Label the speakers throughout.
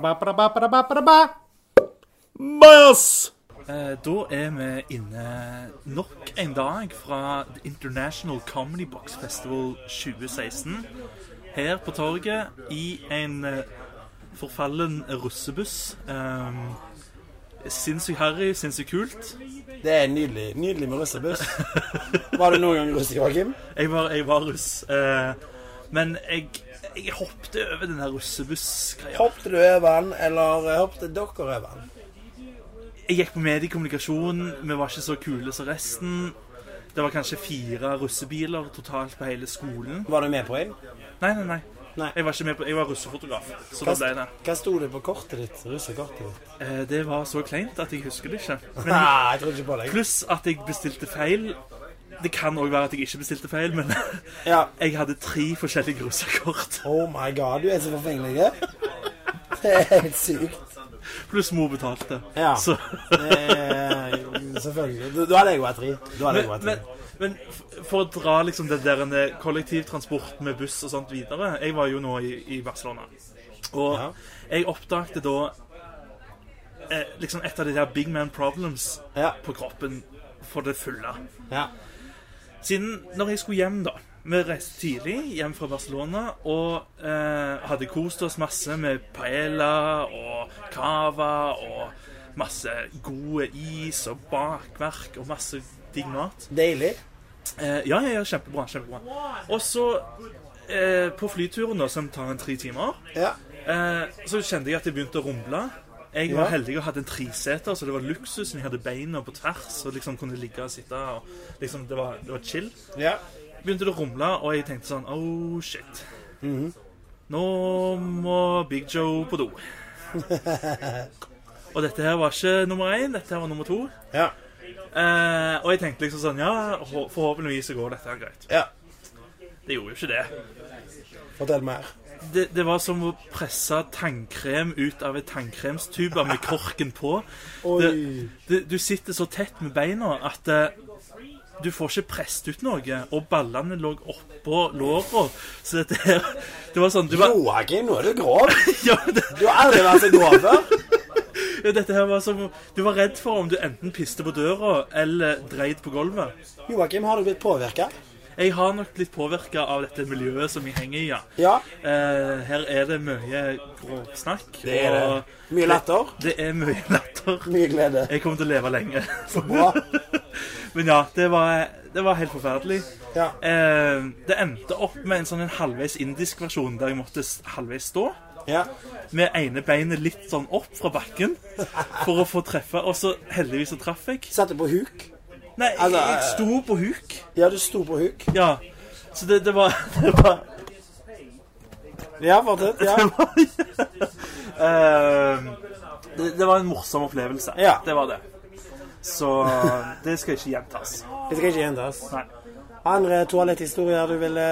Speaker 1: Ba-ba-ba-ba-ba-ba-ba-ba.
Speaker 2: Bajas!
Speaker 3: Eh, Da er vi inne nok en dag fra The International Comedy Box Festival 2016. Her på torget i en eh, forfallen russebuss. Um, sinnssykt harry, sinnssykt kult.
Speaker 2: Det er nydelig. Nydelig med russebuss. Var du noen gang russ, Joakim?
Speaker 3: Jeg var, jeg var russ. eh, men jeg, jeg hoppet over den her russebuss-greia.
Speaker 2: Hoppet du over den, eller eh, hoppet dere over den?
Speaker 3: Jeg gikk på mediekommunikasjon. Vi var ikke så kule som resten. Det var kanskje fire russebiler totalt på hele skolen.
Speaker 2: Var du med på en?
Speaker 3: Nei, nei, nei.
Speaker 2: Nei.
Speaker 3: Jeg var ikke med på, jeg var russefotograf, så da
Speaker 2: Hva,
Speaker 3: ble det.
Speaker 2: hva sto det på kortet ditt? Russekortet ditt?
Speaker 3: Eh, Det var så kleint at jeg husker det ikke. Men
Speaker 2: Nei, jeg trodde ikke på deg.
Speaker 3: pluss at jeg bestilte feil. Det kan òg være at jeg ikke bestilte feil, men
Speaker 2: Ja.
Speaker 3: jeg hadde tre forskjellige russekort.
Speaker 2: Oh my god, du er så forfengelig. Det er helt sykt.
Speaker 3: Pluss mor betalte.
Speaker 2: Ja.
Speaker 3: Så,
Speaker 2: Det er, selvfølgelig. Du, du hadde jeg vært tre. Du hadde jeg
Speaker 3: men,
Speaker 2: vært
Speaker 3: men,
Speaker 2: tre.
Speaker 3: men f- for å dra liksom det der med kollektivtransport med buss og sånt videre Jeg var jo nå i, i Barcelona. Og
Speaker 2: Ja.
Speaker 3: jeg oppdagte da eh, liksom et av de der big man problems
Speaker 2: Ja.
Speaker 3: på kroppen for det fulle.
Speaker 2: ja.
Speaker 3: Siden når jeg skulle hjem, da Vi reiste tidlig hjem fra Barcelona og eh, hadde kost oss masse med paella og cava og masse gode is og bakverk og masse digg mat.
Speaker 2: Deilig.
Speaker 3: Eh, ja, ja, ja, kjempebra. kjempebra. Og så, eh, på flyturen, da, som tar en tre timer,
Speaker 2: Ja.
Speaker 3: eh, så kjente jeg at det begynte å rumle. Jeg
Speaker 2: Ja.
Speaker 3: var heldig og hadde en treseter, så det var luksus. Jeg hadde beina på tvers og liksom kunne ligge og sitte. og liksom, Det var, det var chill
Speaker 2: Ja.
Speaker 3: begynte det å rumle, og jeg tenkte sånn Oh, shit. Nå må Big Joe på do. og dette her var ikke nummer én, dette her var nummer to.
Speaker 2: Ja.
Speaker 3: Eh, og jeg tenkte liksom sånn Ja, hå- forhåpentligvis så går dette her greit.
Speaker 2: ja.
Speaker 3: Det gjorde jo ikke det.
Speaker 2: Fortell mer.
Speaker 3: Det, det var som å presse tannkrem ut av en tannkremstube med korken på.
Speaker 2: Oi.
Speaker 3: Du, du sitter så tett med beina at eh, du får ikke presset ut noe. Og ballene lå oppå låra. Så dette her Det var sånn du var,
Speaker 2: Joakim, nå er du grov.
Speaker 3: ja, men det,
Speaker 2: Du har aldri vært så grov før.
Speaker 3: ja, Dette her var som Du var redd for om du enten piste på døra eller dreit på gulvet.
Speaker 2: Joakim, har du blitt påvirka?
Speaker 3: Jeg har nok blitt påvirka av dette miljøet som jeg henger i, ja.
Speaker 2: Ja.
Speaker 3: Eh, her er det mye grovsnakk.
Speaker 2: Det er det.
Speaker 3: og
Speaker 2: Mye latter.
Speaker 3: Det er mye latter.
Speaker 2: Mye glede.
Speaker 3: Jeg kommer til å leve lenge.
Speaker 2: Bra.
Speaker 3: Men ja, det var, det var helt forferdelig.
Speaker 2: Ja.
Speaker 3: Eh, det endte opp med en sånn en halvveis indisk versjon der jeg måtte s- halvveis stå.
Speaker 2: ja.
Speaker 3: Med ene beinet litt sånn opp fra bakken for å få treffe. Og så heldigvis så traff jeg.
Speaker 2: Satte på huk.
Speaker 3: Nei, jeg,
Speaker 2: Altså,
Speaker 3: jeg sto på huk.
Speaker 2: Ja, du sto på huk.
Speaker 3: Ja. Så det, det var, det var
Speaker 2: Ja, fortsett. Ja.
Speaker 3: eh, det, det var en morsom opplevelse.
Speaker 2: Ja.
Speaker 3: Det var det. Så det skal ikke gjentas.
Speaker 2: Det skal ikke endres.
Speaker 3: Nei.
Speaker 2: Andre toaletthistorier eh, du eh, ville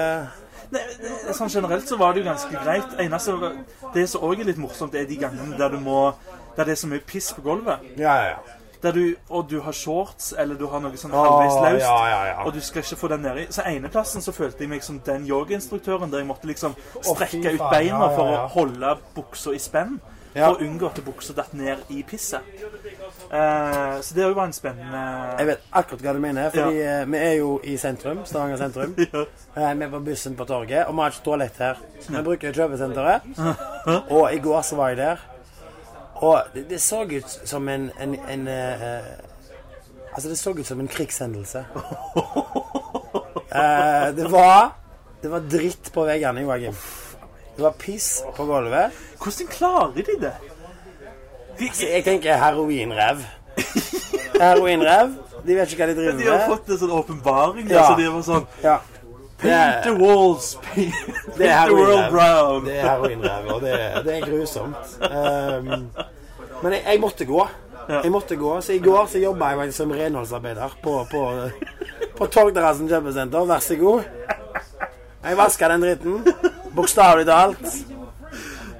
Speaker 3: Nei, det- sånn generelt så var det jo ganske greit. Eneste, det som òg er litt morsomt, det er de gangene der du må Der det er så mye piss på gulvet.
Speaker 2: Ja, ja, ja.
Speaker 3: Der du, og du har shorts, eller du har noe sånn halvveis
Speaker 2: Å,
Speaker 3: løst,
Speaker 2: ja, ja, ja.
Speaker 3: og du skal ikke få den nedi. Så eneplassen så følte jeg meg som den yogainstruktøren der jeg måtte liksom
Speaker 2: fy
Speaker 3: strekke ut
Speaker 2: faen,
Speaker 3: beina
Speaker 2: ja, ja,
Speaker 3: for å
Speaker 2: ja.
Speaker 3: holde buksa i spenn.
Speaker 2: Ja.
Speaker 3: For å unngå at buksa datt ned i pisset. Eh, så det er jo bare en spennende
Speaker 2: Jeg vet akkurat hva du mener, fordi eh, vi er jo i sentrum. Stavanger sentrum. Eh, Vi er på bussen på torget, og vi har ikke toalett her. Så vi bruker kjøpesenteret. Og i går så var jeg der, og det, det så ut som en, en, en eh, Altså, det så ut som en krigshendelse. Eh, det var Det var dritt på veggene, Joakim. Det var piss på gulvet.
Speaker 3: Hvordan klarer de det? De,
Speaker 2: Så Altså, jeg tenker heroinrev. Heroinrev. De vet ikke hva de driver
Speaker 3: de har
Speaker 2: med.
Speaker 3: fått en sånn åpenbaring.
Speaker 2: Ja.
Speaker 3: Ja. Så de var sånn
Speaker 2: Ja. Det
Speaker 3: Paint the
Speaker 2: er,
Speaker 3: walls, paint,
Speaker 2: det er
Speaker 3: the world
Speaker 2: heroinrev.
Speaker 3: brown.
Speaker 2: Det er heroinrev, og det er, det er grusomt. Ehm, men jeg, jeg måtte gå. Jeg måtte gå, Så i går så jobba jeg faktisk som renholdsarbeider på, på, på Torgterrassen kjøpesenter. Vær så god. Jeg vaska den dritten. Bokstavelig talt.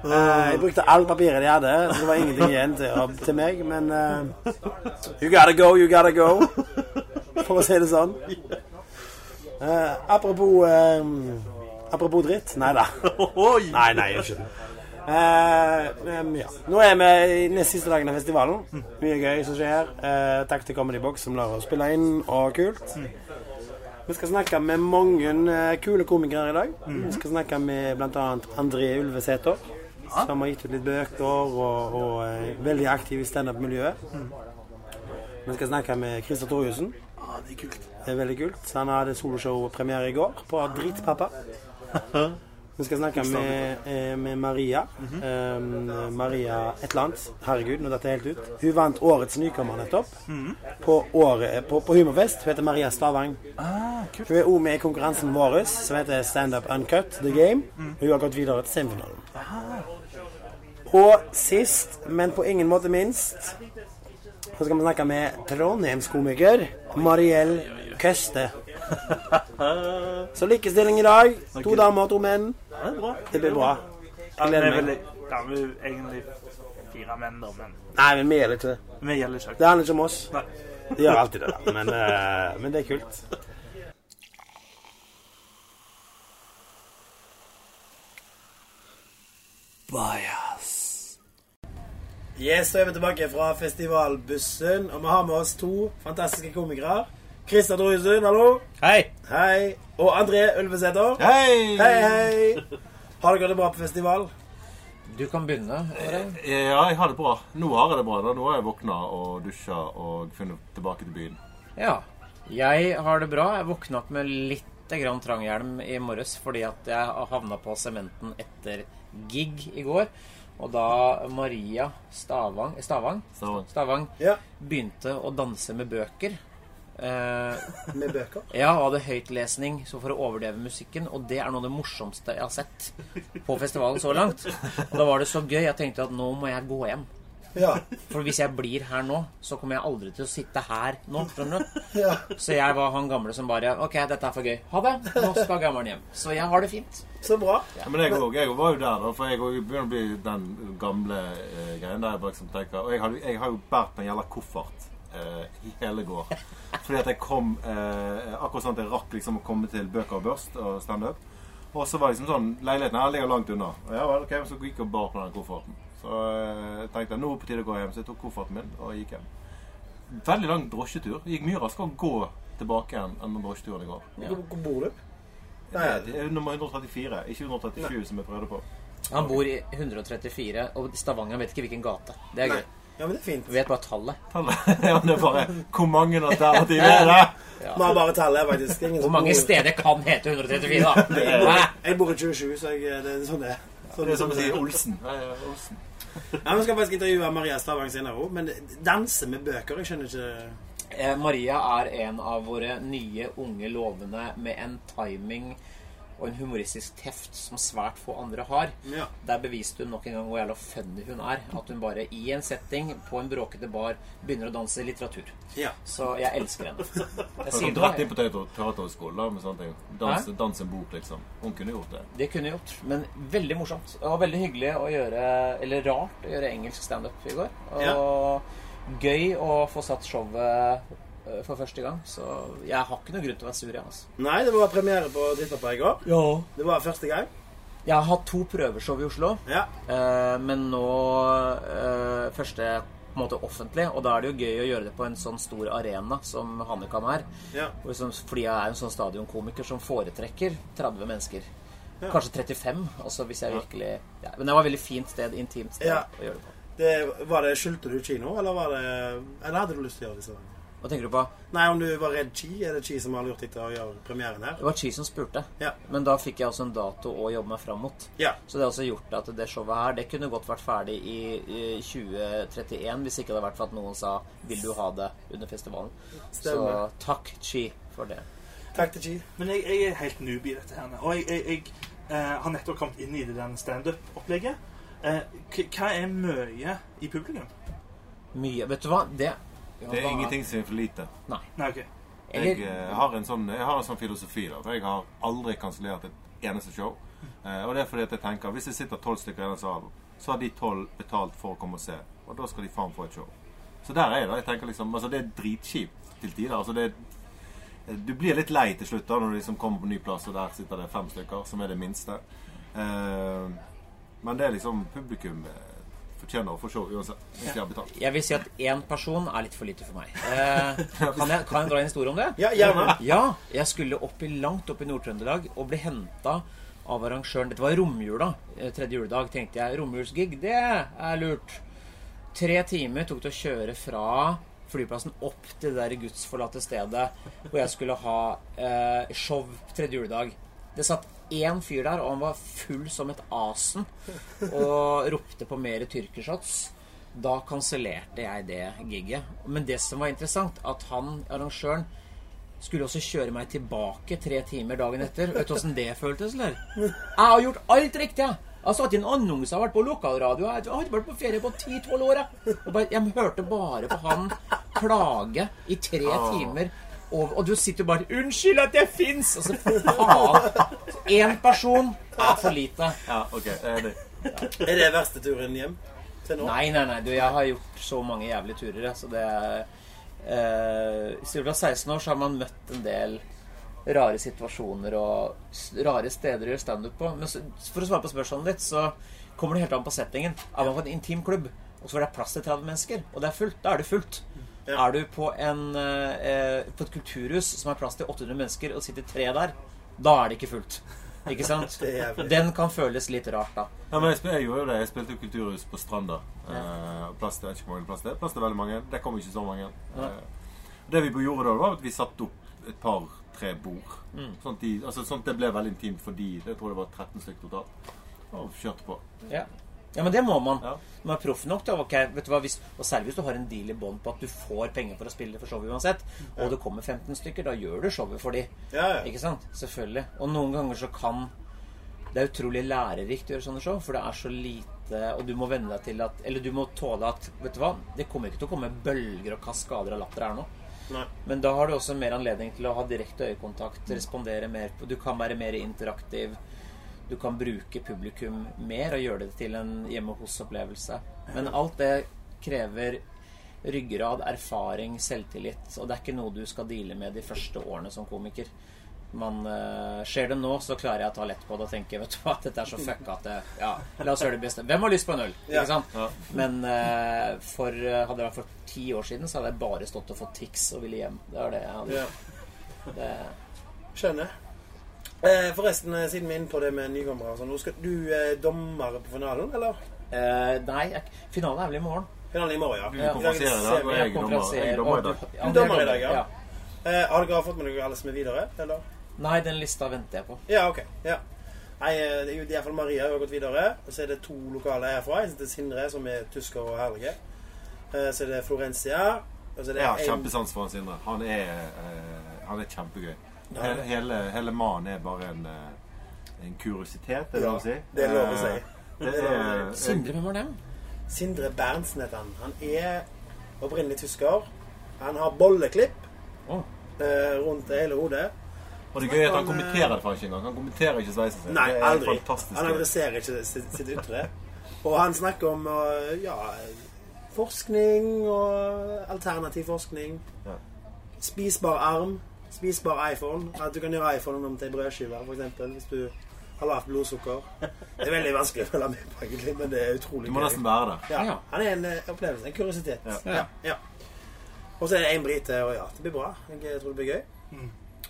Speaker 2: Eh, jeg brukte alt papiret de hadde, så det var ingenting igjen til, å- til meg. Men eh, you gotta go, you gotta go. For å si det sånn. Eh, apropos eh, Apropos dritt. Nei da.
Speaker 3: Oi!
Speaker 2: Nei, nei, jeg gjør ikke det. Eh, em, ja. Nå er vi i nest siste dagen av festivalen. Mye gøy som skjer. Eh, takk til Comedy Box som lar oss spille inn, og kult. Vi skal snakke med mange eh, kule komikere i dag. Vi skal snakke med bl.a. André Ulvesæter. Som har gitt ut litt bøker og, og er veldig aktiv i standup-miljøet. Vi skal snakke med Christer Torjussen.
Speaker 3: Ja, Ah, det er kult.
Speaker 2: Det er veldig kult. Han hadde soloshow-premiere i går på Drittpappa. Vi skal snakke med, eh, med Maria.
Speaker 3: Mhm.
Speaker 2: Eh, Maria et eller annet. Herregud, nå datt det helt ut. Hun vant årets nykommer nettopp.
Speaker 3: Mhm.
Speaker 2: På, året, på, på Humorfest. Hun heter Maria Stavang.
Speaker 3: Ah, kult.
Speaker 2: Hun er òg med i konkurransen vår som heter Standup Uncut The Game.
Speaker 3: Mhm.
Speaker 2: Hun har gått videre til semifinalen. Og sist, men på ingen måte minst, så skal vi snakke med trondheimskomiker Mariell Køste. Så likestilling i dag. To damer, to menn.
Speaker 3: Ja, det er bra.
Speaker 2: Det blir bra.
Speaker 1: Ja, vi
Speaker 2: Jeg
Speaker 1: er
Speaker 2: gleder
Speaker 1: vel
Speaker 2: meg.
Speaker 1: ja, vi er egentlig fire menn, da, men
Speaker 2: Nei, men vi er litt det.
Speaker 1: vi gjelder ikke.
Speaker 2: Det handler ikke om oss.
Speaker 1: Nei.
Speaker 2: De gjør alltid det, da. Men, eh, men det er kult. Yes, da er vi tilbake fra festivalbussen, og vi har med oss to fantastiske komikere. Christer Drusund, hallo.
Speaker 4: Hei!
Speaker 2: Hei. Og André Ulvesæter.
Speaker 4: Hei!
Speaker 2: Hei, hei. Har dere det bra på festival?
Speaker 4: Du kan begynne. Harald.
Speaker 5: Ja, jeg har det bra. Nå har jeg det bra. da. Nå har jeg våkna og dusja og funnet tilbake til byen.
Speaker 4: Ja. Jeg har det bra. Jeg våkna opp med litt grann tranghjelm i morges fordi at jeg havna på sementen etter gig i går. Og da Maria Stavang eh, Stavang,
Speaker 5: Stavang.
Speaker 4: Stavang
Speaker 2: Ja.
Speaker 4: begynte å danse med bøker eh,
Speaker 2: Med bøker?
Speaker 4: Ja, og hadde høytlesning så for å overdøve musikken. Og det er noe av det morsomste jeg har sett på festivalen så langt. Og da var det så gøy. Jeg tenkte at nå må jeg gå hjem.
Speaker 2: Ja.
Speaker 4: For hvis jeg blir her nå, så kommer jeg aldri til å sitte her nå. skjønner du?
Speaker 2: ja.
Speaker 4: Så jeg var han gamle som bare Ok, dette er for gøy. Ha det. Nå skal gammelen hjem. Så jeg har det fint.
Speaker 2: Så bra.
Speaker 5: Ja, men jeg òg. Jeg var jo der, da. For jeg også begynner å bli den gamle eh, greien der jeg bare liksom tenker Og jeg har, jeg har jo båret på en jævla koffert eh, i hele går. Fordi at jeg kom eh, akkurat sånn at jeg rakk liksom å komme til Bøker og Børst og standup. Og så var det liksom sånn Leiligheten her ligger langt unna. Og ja vel, ok, så gikk jeg og bar på den kofferten. Så eh, jeg tenkte jeg nå er det på tide å gå hjem. Så jeg tok kofferten min og gikk hjem. veldig lang drosjetur. Det gikk mye raskere å gå tilbake igjen enn den drosjeturen i går.
Speaker 2: Hvor bor du?
Speaker 5: Det er nummer 134, ikke 137 som jeg prøvde på.
Speaker 4: Han bor i 134, og Stavanger vet ikke hvilken gate. Det er gøy.
Speaker 2: Ja, men det er fint.
Speaker 4: Vet bare tallet.
Speaker 5: Tallet ja, det er bare Hvor mange alternativer er det?
Speaker 2: Vi har bare tallet, faktisk. Ingen
Speaker 4: Hvor
Speaker 2: som
Speaker 4: mange
Speaker 2: bor-
Speaker 4: steder kan hete 134, da? Hæ?
Speaker 2: Jeg bor i 27, så jeg, det er sånn det er. Sånn
Speaker 5: Det er som å si Olsen. Nei, Olsen.
Speaker 2: Ja, Vi skal faktisk intervjue Maria Stavang senere òg, men danse med bøker Jeg skjønner ikke
Speaker 4: Eh, Maria er en av våre nye, unge lovende med en timing og en humoristisk teft som svært få andre har.
Speaker 2: Ja.
Speaker 4: Der beviste hun nok en gang hvor jævla funny hun er. At hun bare i en setting på en bråkete bar begynner å danse litteratur.
Speaker 2: Ja.
Speaker 4: Så jeg elsker henne. Jeg
Speaker 5: Som
Speaker 4: sier
Speaker 5: dratt inn
Speaker 4: det,
Speaker 5: på teater- teaterhøgskolen da, med sånne ting. Dans, dans en bok, liksom. Hun kunne gjort det.
Speaker 4: det kunne jeg gjort. Men veldig morsomt. Og veldig hyggelig å gjøre Eller rart å gjøre engelsk standup i går. Og gøy å få satt showet eh, for første gang. Så jeg har ikke noen grunn til å være sur, jeg, altså.
Speaker 2: Nei, det var premiere på Drittpappa i går.
Speaker 4: Ja.
Speaker 2: Det var første gang.
Speaker 4: Jeg har hatt to prøveshow i Oslo,
Speaker 2: Ja.
Speaker 4: eh, men nå eh, første på en måte offentlig. Og da er det jo gøy å gjøre det på en sånn stor arena som Hannekam er.
Speaker 2: Ja.
Speaker 4: Og liksom, fordi jeg er en sånn stadionkomiker som foretrekker 30 mennesker. Kanskje 35, altså hvis jeg virkelig ja, Men det var et veldig fint sted, intimt sted
Speaker 2: Ja.
Speaker 4: å gjøre det på.
Speaker 2: Det, var det Skyldte du kino, eller var det Eller hadde du lyst til å gjøre det i Stavanger?
Speaker 4: Hva tenker du på?
Speaker 2: Nei, om du var redd Chi? Er det Chi som har lurt deg til å gjøre premieren her?
Speaker 4: Det var Chi som spurte,
Speaker 2: Ja.
Speaker 4: men da fikk jeg også en dato å jobbe meg fram mot.
Speaker 2: Ja.
Speaker 4: Så det har også gjort at det showet her Det kunne godt vært ferdig i, i 2031 hvis ikke det hadde vært for at noen sa 'Vil du ha det?' under festivalen.
Speaker 2: Stemmer.
Speaker 4: Så takk, Chi, for det.
Speaker 2: Takk til Chi.
Speaker 1: Men jeg, jeg er helt noob i dette her. Og jeg, jeg, jeg eh, har nettopp kommet inn i det der standup-opplegget. Eh, k- hva er mye i publikum?
Speaker 4: Mye Vet du hva? Det
Speaker 5: Det er ingenting som er for lite.
Speaker 1: Nei, OK.
Speaker 5: Jeg,
Speaker 4: Eller
Speaker 5: eh, har en sånn, jeg har en sånn filosofi. da, for Jeg har aldri kansellert et eneste show. Eh, og det er fordi at jeg tenker Hvis det sitter tolv stykker i den salen, så har de tolv betalt for å komme og se. Og da skal de faen få et show. Så der er jeg, da. jeg tenker liksom, altså Det er dritkjipt til tider. altså det er- Du blir litt lei til slutt da når du liksom kommer på ny plass, og der sitter det fem stykker, som er det minste. Eh, Men det er liksom publikum eh, fortjener å få show uansett. Hvis de har betalt.
Speaker 4: Jeg vil si at én person er litt for lite for meg. Eh, kan, jeg, kan jeg dra en historie om det?
Speaker 2: Ja, gjerne.
Speaker 4: Ja, jeg skulle opp i, langt opp i Nord-Trøndelag og ble henta av arrangøren. Dette var romjula. eh, Tredje juledag tenkte jeg romjulsgig, det er lurt. Tre timer tok det å kjøre fra flyplassen opp til det der gudsforlatte stedet hvor jeg skulle ha eh, show tredje juledag. Det satt én fyr der, og han var full som et asen og ropte på mer tyrkershots. Da kansellerte jeg det gigget. Men det som var interessant, at han, arrangøren, skulle også kjøre meg tilbake tre timer dagen etter. Vet du åssen det føltes, eller? Jeg har gjort alt riktig, jeg. Jeg har satt inn annonser, jeg har vært på lokalradio. Jeg har ikke vært på ferie på 10-12 år, jeg. Og bare, jeg hørte bare på han klage i tre timer. over- og du sitter jo bare 'Unnskyld at jeg fins!' Altså, faen. Én person er for lite.
Speaker 5: Ja, ok, Eh, jeg er enig.
Speaker 2: Er det verste turen hjem til nå?
Speaker 4: Nei, nei, nei. Du, jeg har gjort så mange jævlige turer. jeg, Så det er eh, Siden du er 16 år, så har man møtt en del rare situasjoner og s- rare steder å gjøre standup på. Men så, for å svare på spørsmålet ditt, så kommer det helt an på settingen. Er man på en intim klubb, og så er det plass til 30 mennesker, og det er fullt, da er det fullt. Er du på, en, eh, eh, på et kulturhus som har plass til 800 mennesker, og det sitter tre der, da er det ikke fullt. Ikke sant?
Speaker 2: Det er jævlig.
Speaker 4: Den kan føles litt rart, da.
Speaker 5: Ja, men jeg, spil, jeg gjorde jo det. Jeg spilte jo kulturhus på Stranda. Eh, og plass til jeg vet ikke hvor mange plass til. Plass til veldig mange. Det kom ikke så mange. Eh, det vi gjorde da, var at vi satte opp et par-tre bord.
Speaker 2: Mm.
Speaker 5: Sånn at, de, altså, sånn at det ble veldig intimt for de. Jeg tror det var 13 stykker totalt. Og kjørte på.
Speaker 4: Ja. ja, men det må man.
Speaker 5: Ja.
Speaker 4: Når man er proff nok, da. ok, vet du hva, hvis, og særlig hvis du har en deal i bånd på at du får penger for å spille for showet uansett, og det kommer 15 stykker, da gjør du showet for de.
Speaker 2: Ja, ja.
Speaker 4: Ikke sant? Selvfølgelig. Og noen ganger så kan det er utrolig lærerikt å gjøre sånne show, for det er så lite Og du må venne deg til at Eller du må tåle at Vet du hva, det kommer ikke til å komme bølger og kaskader av latter her nå.
Speaker 2: Nei.
Speaker 4: Men da har du også mer anledning til å ha direkte øyekontakt, respondere mer på Du kan være mer interaktiv. Du kan bruke publikum mer og gjøre det til en hjemme hos-opplevelse. Men alt det krever ryggrad, erfaring, selvtillit. Og det er ikke noe du skal deale med de første årene som komiker. Man, eh, skjer det nå, så klarer jeg å ta lett på det og tenke vet du hva, dette er så fucka at det, ja, La oss gjøre det beste. Hvem har lyst på en øl?
Speaker 2: Ja.
Speaker 4: Ikke sant?
Speaker 5: Ja.
Speaker 4: Men eh, for, eh, hadde det vært for ti år siden, så hadde jeg bare stått og fått tics og ville hjem. Det var det jeg hadde.
Speaker 2: Ja.
Speaker 4: Det,
Speaker 2: Skjønner. Eh, forresten, eh, siden vi er inne på det med nykommere og sånn, nå skal du eh, dommere på finalen, eller?
Speaker 4: eh, nei, jeg, finalen er vel i morgen.
Speaker 2: Finalen i morgen, ja.
Speaker 5: Du
Speaker 4: Ja.
Speaker 5: konferanserer i dag, og jeg dommer. Jeg
Speaker 4: konferansier,
Speaker 5: dommer i
Speaker 4: og
Speaker 5: dag.
Speaker 4: du-
Speaker 2: Du
Speaker 4: det er
Speaker 2: dommer i dag, ja.
Speaker 4: ja.
Speaker 2: Eh, har dere fått med dere alle som er videre, eller?
Speaker 4: Nei, den lista venter jeg på.
Speaker 2: Ja, ok. Ja. Nei, eh, det er jo i hvert fall Maria har gått videre. Og så er det to lokale herfra. En som heter Sindre, som er tysker og herlige. Eh, Så er det Florencia. Og så er det
Speaker 5: Jeg har
Speaker 2: en-
Speaker 5: kjempesans for han Sindre. Han er, eh, han er kjempegøy. Hele, hele, hele mannen er bare en, eh, en kuriositet, er det
Speaker 2: Ja,
Speaker 5: lov å si?
Speaker 2: det er lov å si.
Speaker 5: Eh, Det er,
Speaker 4: Sindre, hvem var dem?
Speaker 2: Sindre Berntsen heter han. Han er opprinnelig tysker. Han har bolleklipp
Speaker 4: Å.
Speaker 2: eh, rundt hele hodet.
Speaker 5: Og det gøye er at han kommenterer det faktisk ikke engang. Han kommenterer ikke sveisen sin.
Speaker 2: Nei,
Speaker 5: det er
Speaker 2: aldri.
Speaker 5: fantastisk
Speaker 2: Han
Speaker 5: gøy.
Speaker 2: adresserer ikke sitt, sitt ytre. Og han snakker om eh, ja, forskning og alternativ forskning.
Speaker 5: Ja.
Speaker 2: Spisbar arm, spisbar iPhone. At du kan gjøre iPhonen om til en brødskive, for eksempel, hvis du har lavt blodsukker. Det er veldig vanskelig å følge med på, egentlig, men det er
Speaker 5: Du
Speaker 2: utrolig
Speaker 5: må nesten være der.
Speaker 2: Ja,
Speaker 4: Ja.
Speaker 2: han er en eh, opplevelse, en kuriositet.
Speaker 5: Ja.
Speaker 2: Ja. ja. Og så er det en brite, og ja, det blir bra. Jeg tror det blir gøy.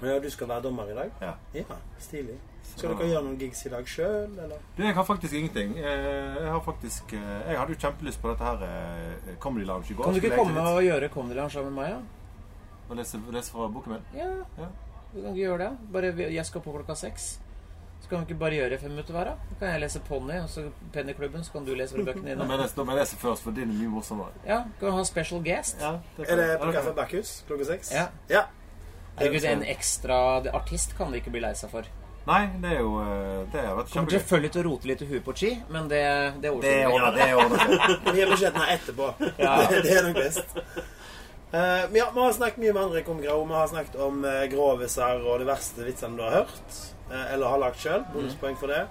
Speaker 2: Ja, du skal være dommer i dag.
Speaker 5: Ja.
Speaker 2: Ja, Stilig. Skal dere gjøre noen gigs i dag sjøl, eller?
Speaker 5: Du, jeg har faktisk ingenting. Eh, Jeg har faktisk eh, Jeg hadde jo kjempelyst på dette her eh, Comedy Lounge i går.
Speaker 4: Kan du ikke
Speaker 5: Skulle
Speaker 4: komme
Speaker 5: egentlig
Speaker 4: og gjøre Comedy Lounge sammen med meg, da?
Speaker 5: Og lese, lese fra boken min?
Speaker 4: Ja,
Speaker 5: Ja.
Speaker 4: vi kan ikke gjøre det. Bare, vi- jeg skal på klokka seks. Så kan vi ikke bare gjøre fem minutter hver, da? Da kan jeg lese Ponni, og så Pennyklubben, så kan du lese fra bøkene
Speaker 5: Da må
Speaker 4: dine.
Speaker 5: jeg lese- da må jeg lese først, for din er mye morsommere.
Speaker 4: Ja, kan vi ha en special guest?
Speaker 5: Ja, det
Speaker 2: Er det på
Speaker 5: ja,
Speaker 2: Kaffe Bakkhus klokka seks?
Speaker 4: Ja.
Speaker 2: ja.
Speaker 4: Herregud, en ekstra artist kan du ikke bli lei seg for.
Speaker 5: Nei, det er jo eh, Det har vært
Speaker 4: Kommer
Speaker 5: kjempegøy.
Speaker 4: selvfølgelig til å rote litt i huet på Chi, men det, det
Speaker 5: Det
Speaker 4: ordner vi.
Speaker 5: ordner det ordner seg.
Speaker 2: Men gi beskjeden her etterpå.
Speaker 4: Ja.
Speaker 2: det er nok best. Eh, men ja, vi har snakket mye med andre komikere. og Vi har snakket om eh, groviser og de verste vitsene du har hørt. eh, eller har lagd sjøl. Bonuspoeng for det.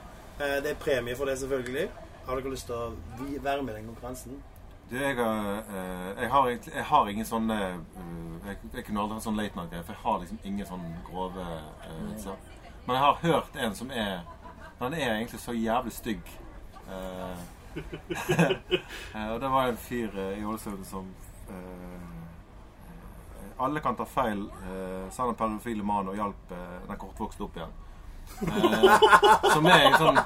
Speaker 2: Eh, det er premie for det, selvfølgelig. Har dere lyst til å vi- være med i den konkurransen?
Speaker 5: Du, jeg, har, eh, jeg, har, egentlig- jeg har ingen sånne eh, jeg, jeg kunne aldri hatt sånn late night-greie, for jeg har liksom ingen sånn grove eh, vitser. Men jeg har hørt en som er Den er egentlig så jævlig stygg. Eh, eh, og det var en fyr eh, i Ålesund som eh, Alle kan ta feil, eh, sa den perofile mannen og hjalp eh, den kortvokste opp igjen. Eh, som er en sånn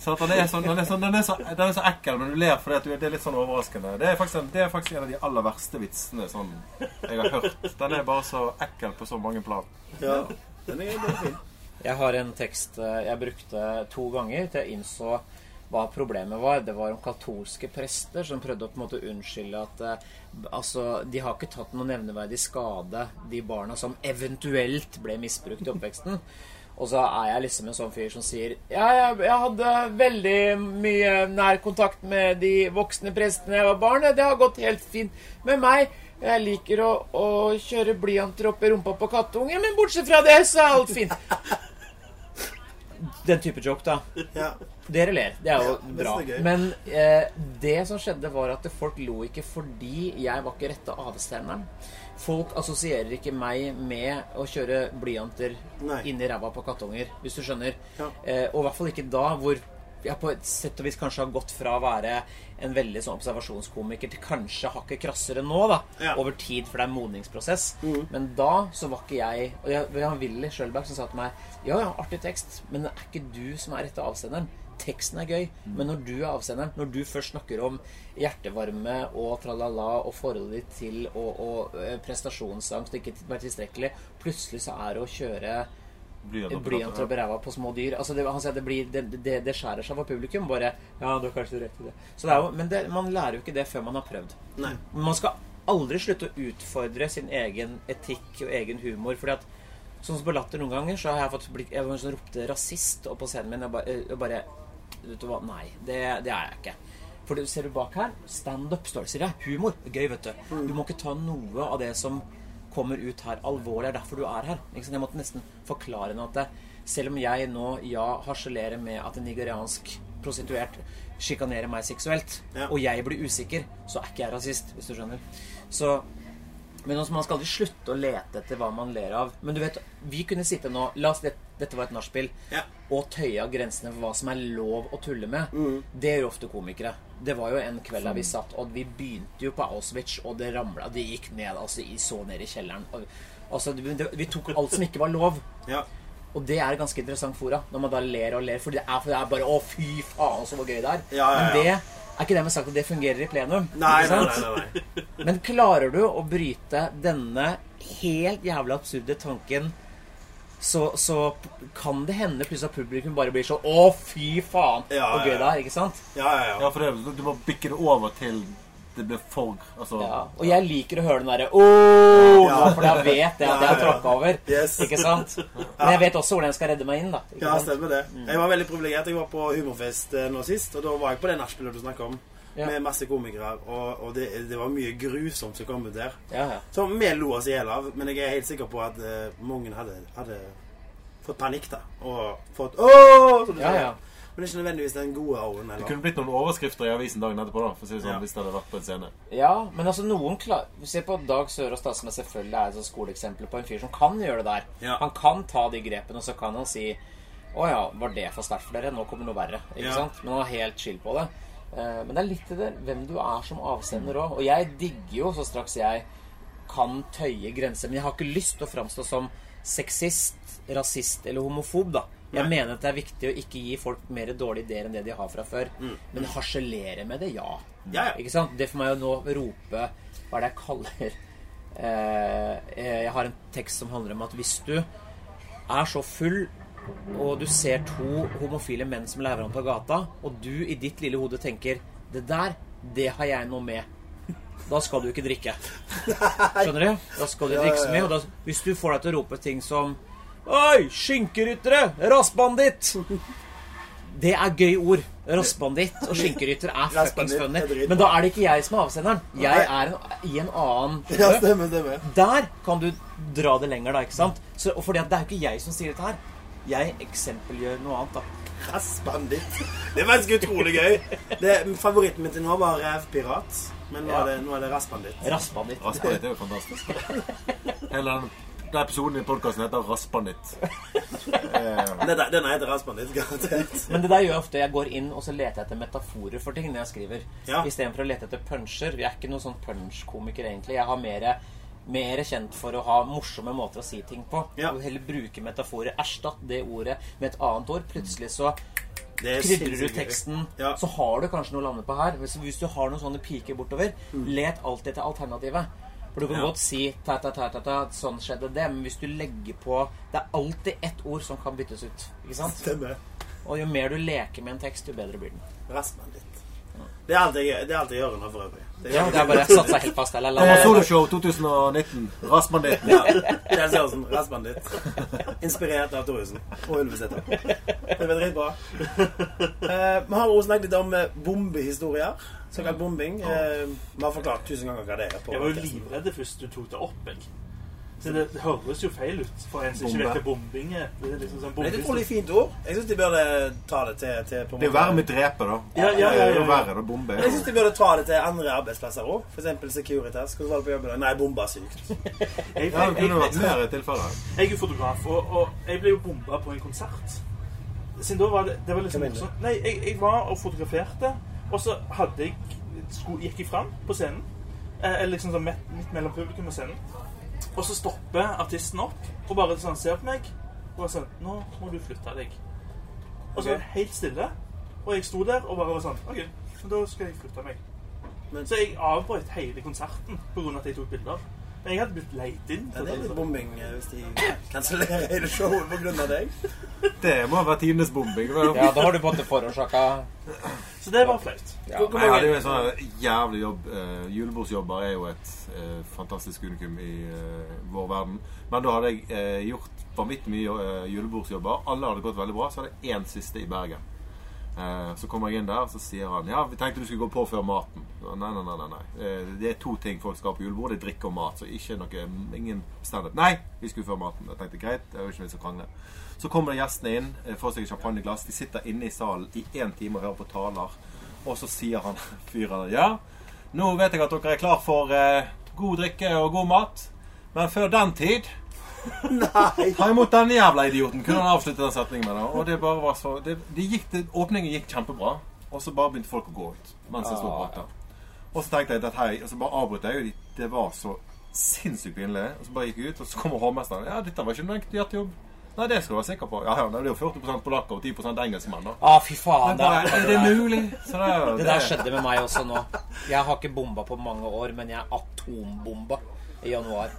Speaker 5: så at den, er sånn, den, er sånn, den, er så, den er så ekkel, men du ler fordi at du, det er litt sånn overraskende. Det er, faktisk en, det er faktisk en av de aller verste vitsene sånn, jeg har hørt. Den er bare så ekkel på så mange plan.
Speaker 2: Ja. Den er bare fin.
Speaker 4: Jeg har en tekst eh, jeg brukte to ganger til jeg innså hva problemet var. Det var om katolske prester som prøvde å på en måte unnskylde at eh, altså, de har ikke tatt noe nevneverdig skade, de barna som eventuelt ble misbrukt i oppveksten. Og så er jeg liksom en sånn fyr som sier Ja, jeg, jeg hadde veldig mye nær kontakt med de voksne prestene jeg var barn. Det har gått helt fint med meg. Jeg liker å, å kjøre blyanter opp i rumpa på kattungen, men bortsett fra det, så er alt fint. Den type joke, da.
Speaker 2: Ja.
Speaker 4: Dere ler. Det er jo
Speaker 2: Ja, det er
Speaker 4: bra.
Speaker 2: så gøy.
Speaker 4: Men eh, det som skjedde, var at folk lo ikke fordi jeg var ikke rette avsenderen. Folk assosierer ikke meg med å kjøre blyanter
Speaker 2: Nei.
Speaker 4: inni ræva på kattunger, hvis du skjønner.
Speaker 2: Ja.
Speaker 4: Eh, og i hvert fall ikke da hvor jeg på et sett og vis kanskje har gått fra å være en veldig sånn observasjonskomiker til kanskje hakket krassere nå, da.
Speaker 2: Ja.
Speaker 4: Over tid, for det er en modningsprosess. Men da så var ikke jeg Og jeg, det var Willy Schjølberg som sa til meg Ja, ja, artig tekst, men det er ikke du som er rette avsenderen. Teksten er gøy, men når du er avsenderen, når du først snakker om hjertevarme og tralala og forholdet ditt til og, og eh, prestasjonsangst og ikke være tilstrekkelig, plutselig så er det å kjøre Blyanter opp i ræva på små dyr. Altså det, han sier at det, blir, det, det, det skjærer seg for publikum. Bare Ja, du har kanskje rett i det. Så det er jo, men det, man lærer jo ikke det før man har prøvd.
Speaker 2: Nei.
Speaker 4: Man skal aldri slutte å utfordre sin egen etikk og egen humor. Fordi at Sånn som på Latter noen ganger, så har jeg fått blikk Jeg var en som ropte 'rasist' opp på scenen min. Jeg bare, jeg bare Vet du hva? Nei, det, det er jeg ikke. For du ser du bak her, standup står det, sier jeg. Humor. Gøy, vet du. Du må ikke ta noe av det som kommer ut her, alvorlig. Det er derfor du er her. Ikke sant? Jeg måtte nesten forklare henne at det, selv om jeg nå, ja, harselerer med at en nigeriansk prostituert sjikanerer meg seksuelt,
Speaker 2: Ja.
Speaker 4: og jeg blir usikker, så er ikke jeg rasist, hvis du skjønner. Så men altså, Man skal aldri slutte å lete etter hva man ler av. Men du vet, vi kunne sitte nå La oss det, Dette var et nachspiel.
Speaker 2: Ja.
Speaker 4: Og tøye av grensene for hva som er lov å tulle med.
Speaker 2: Mm.
Speaker 4: Det gjør ofte komikere. Det var jo en kveld der vi satt, og vi begynte jo på Auschwitz, og det ramla. Det gikk ned, altså, i, så ned i kjelleren. Og, altså, det, det, vi tok alt som ikke var lov.
Speaker 2: Ja.
Speaker 4: Og det er et ganske interessant fora, når man da ler og ler. For det er, for det er bare 'Å, fy faen, så gøy det er'.
Speaker 2: Ja, ja, ja.
Speaker 4: Men det er ikke dermed sagt at det fungerer i plenum.
Speaker 2: Nei,
Speaker 4: ikke
Speaker 2: nei,
Speaker 4: sant?
Speaker 2: nei, nei, nei.
Speaker 4: Men klarer du å bryte denne helt jævla absurde tanken, så, så kan det hende plutselig at publikum bare blir sånn Å, fy faen!
Speaker 2: Ja,
Speaker 4: og gøy
Speaker 2: ja,
Speaker 4: det
Speaker 2: ja.
Speaker 4: er, ikke sant?
Speaker 2: Ja, ja, ja.
Speaker 5: Ja, for det, du må bikke det over til det blir for altså,
Speaker 4: Ja. Og jeg liker å høre den derre Ååå!
Speaker 2: Ja.
Speaker 4: For da vet jeg at jeg har tråkka over.
Speaker 2: Yes.
Speaker 4: Ikke sant? Men jeg vet også hvordan jeg skal redde meg inn, da. Ikke
Speaker 2: Ja,
Speaker 4: sant?
Speaker 2: stemmer det. Jeg var veldig privilegert. Jeg var på humorfest eh, nå sist, og da var jeg på det nachspielet du snakker om.
Speaker 4: Ja.
Speaker 2: Med masse komikere, og, og det, det var mye grusomt som kom ut der.
Speaker 4: Ja, ja.
Speaker 2: Som vi lo oss i hjel av, men jeg er helt sikker på at eh, mange hadde, hadde fått panikk, da. Og fått åh! som du
Speaker 4: Ja,
Speaker 2: sier.
Speaker 4: ja.
Speaker 2: Men det er ikke nødvendigvis den gode åren
Speaker 5: Det
Speaker 2: heller.
Speaker 5: kunne blitt noen overskrifter i avisen dagen etterpå da, for å si det sånn,
Speaker 2: Ja.
Speaker 5: hvis det hadde vært på en scene.
Speaker 4: ja, men altså noen klar... Se på Dag Sørås, da, som jeg selvfølgelig er et sånt skoleeksempel på en fyr som kan gjøre det der.
Speaker 2: Ja.
Speaker 4: Han kan ta de grepene, og så kan han si Å ja, var det for sterkt for dere? Nå kommer noe verre. Ikke
Speaker 2: Ja.
Speaker 4: sant? Men han er helt chill på det. Eh, Men det er litt i det hvem du er som avsender òg. Og jeg digger jo så straks jeg kan tøye grenser. Men jeg har ikke lyst til å framstå som sexist, rasist eller homofob, da. Jeg mener at det er viktig å ikke gi folk mer dårlige ideer enn det de har fra før.
Speaker 2: Mm.
Speaker 4: Men harselere med det, ja.
Speaker 2: Ja, ja.
Speaker 4: Ikke sant? Det får meg jo nå rope Hva er det jeg kaller eh, Jeg har en tekst som handler om at hvis du er så full og du ser to homofile menn som lever om på gata, og du i ditt lille hode tenker Det der, det har jeg noe med. Da skal du ikke drikke. Skjønner du? Da skal du
Speaker 2: Ja,
Speaker 4: drikke
Speaker 2: ja,
Speaker 4: så
Speaker 2: ja.
Speaker 4: mye. Og da, hvis du får deg til å rope ting som Oi, skinkeryttere! Rassbanditt! Det er gøy ord. Rassbanditt og skinkerytter er fuckings
Speaker 2: Rassbanditt er
Speaker 4: funny.
Speaker 2: dritbra.
Speaker 4: Men da er det ikke jeg som er avsenderen. Jeg
Speaker 2: Nei.
Speaker 4: er en, i en annen
Speaker 2: Ja, stemmer, stemmer.
Speaker 4: der kan du dra det lenger, da. ikke sant? Så, og fordi at det er jo ikke jeg som sier dette her. Jeg eksempelgjør noe annet, da.
Speaker 2: Rassbanditt. Det er faktisk utrolig gøy. Det, favoritten min til nå var revpirat, men nå
Speaker 4: Ja.
Speaker 2: er det, nå er det rassbanditt.
Speaker 4: Rassbanditt.
Speaker 5: Rasper litt, det er jo fantastisk. Hele den Den episoden i podkasten heter 'Raspanitt'. Eh,
Speaker 2: Denne, denne heter Raspanditt, garantert.
Speaker 4: Men det der gjør jeg ofte. Jeg går inn og så leter jeg etter metaforer for ting når jeg skriver.
Speaker 2: Ja.
Speaker 4: Istedenfor å lete etter puncher. Jeg er ikke noen sånn punch-komiker, egentlig. Jeg har mer mer kjent for å ha morsomme måter å si ting på.
Speaker 2: Ja.
Speaker 4: Og heller bruke metaforer. Erstatt det ordet med et annet ord. Plutselig så
Speaker 2: Det er
Speaker 4: krydrer du
Speaker 2: sinnssykt gøy.
Speaker 4: teksten,
Speaker 2: Ja.
Speaker 4: så har du kanskje noe å lande på her. Hvis, hvis du har noen sånne piker bortover, let alltid etter alternativet. For du kan
Speaker 2: Mm. Ja.
Speaker 4: godt si ta, ta, ta, ta, ta, sånn skjedde det, men hvis du legger på Det er alltid ett ord som kan byttes ut. Ikke sant?
Speaker 2: Stemmer.
Speaker 4: Og jo mer du leker med en tekst, jo bedre blir den.
Speaker 2: Raspanditt. Det er alt jeg, det er alt jeg gjør nå for øvrig. Det
Speaker 4: Ja, det er bare jeg satt seg helt fast. Eller, la
Speaker 5: Thomas
Speaker 4: meg-
Speaker 5: Soloshow 2019. Raspanditten.
Speaker 2: Ja, Kjell Sjørsen, Raspanditt. Inspirert av Thoresen og Ulvesæter. Det blir dritbra. Eh, vi har også snakket litt om eh, bombehistorier. Såkalt bombing. Eh, vi har forklart tusen ganger hva det er. på
Speaker 1: Jeg var jo
Speaker 2: podcasten.
Speaker 1: livredd først du tok det opp. Jeg. Så det høres jo feil ut for en som ikke
Speaker 5: Bombe.
Speaker 1: vet hva bombing er. Det er liksom sånn
Speaker 2: Men Det er et
Speaker 1: bombe.
Speaker 2: utrolig fint ord. Jeg syns de burde ta det til, til på en
Speaker 5: Det er jo
Speaker 2: måte-
Speaker 5: verre med drepe, da.
Speaker 1: Ja, ja, ja, ja,
Speaker 5: Det er jo
Speaker 1: ja.
Speaker 5: verre da, bombe.
Speaker 2: Men Jeg syns de burde ta det til andre arbeidsplasser òg. F.eks. Securitas. Hvordan var det på jobben? i dag? Nei, bomba er sykt.
Speaker 1: Jeg,
Speaker 5: Ja,
Speaker 1: jeg,
Speaker 5: det
Speaker 1: jeg,
Speaker 5: kunne vært flere tilfeller.
Speaker 1: jeg er jo fotograf, og, og jeg ble jo bomba på en konsert. Siden da var det, det var liksom
Speaker 2: Hva mener du?
Speaker 1: sånn- Nei, jeg, jeg var og fotograferte, og så hadde jeg skulle, gikk jeg fram på scenen. eh, Eller liksom sånn midt, midt mellom publikum og scenen. Og så stopper artisten opp og bare sånn ser på meg og bare sånn Nå må du flytte deg. Og så var det helt stille, og jeg sto der og bare var sånn OK, men da skal jeg flytte meg.
Speaker 2: Men-
Speaker 1: så jeg avbrøt hele konserten pga. at jeg tok bilder. Men jeg hadde blitt leit inn.
Speaker 2: Ja,
Speaker 1: for
Speaker 2: det
Speaker 1: å sånn. ta
Speaker 2: er litt
Speaker 1: bilder.
Speaker 2: bombing eh, hvis de kansellerer hele showet pga. deg.
Speaker 5: Det må være tidenes bombing. Det
Speaker 4: Ja,
Speaker 5: var-
Speaker 4: da har du på en måte forårsaka
Speaker 1: Så det var flaut.
Speaker 4: ja.
Speaker 2: Hvor- hvor
Speaker 5: Jeg hadde jo
Speaker 2: mange-
Speaker 5: en sånn jævlig jobb. Eh, julebordsjobber er jo et eh, fantastisk unikum i eh, vår verden. Men da hadde jeg eh, gjort vanvittig mye eh, julebordsjobber. Alle hadde gått veldig bra. Så hadde jeg én siste i Bergen. Eh, så kommer jeg inn der, og så sier han Ja, vi tenkte du skulle gå på før maten. Så, Nei, nei, nei. nei, nei. Eh, det er to ting folk skal ha på julebord. Det er drikke og mat. Så ikke noe Ingen standup. Nei, vi skulle før maten. Jeg tenkte greit, det er jo ikke vits å krangle. Så kommer det gjestene inn, eh, får seg et champagneglass. De sitter inne i salen i én time og hører på taler. Og så sier han fyren Ja, nå vet jeg at dere er klar for eh, god drikke og god mat. Men før den tid
Speaker 2: Nei!
Speaker 5: Ta imot denne jævla idioten! Kunne han avslutte den setningen med det? Og det bare var så det, det gikk, det, Åpningen gikk kjempebra, og så bare begynte folk å gå ut. Mens
Speaker 4: Ah.
Speaker 5: jeg sto og pratet. Og så tenkte jeg at hei, og så bare avbrøt jeg, og de- det var så sinnssykt pinlig. Og så bare gikk jeg ut, og så kommer hovmesteren. Ja, dette var ikke noen enkel hjertejobb. Nei, det skal du være sikker på. Ja, ja, det er jo 40 polakker og 10 engelskmenn, da.
Speaker 4: Å, fy faen. Det,
Speaker 5: Bare,
Speaker 4: er,
Speaker 5: er det mulig? Så det, er jo-
Speaker 4: det der skjedde med meg også nå. Jeg har ikke bomba på mange år, men jeg atombomba i januar.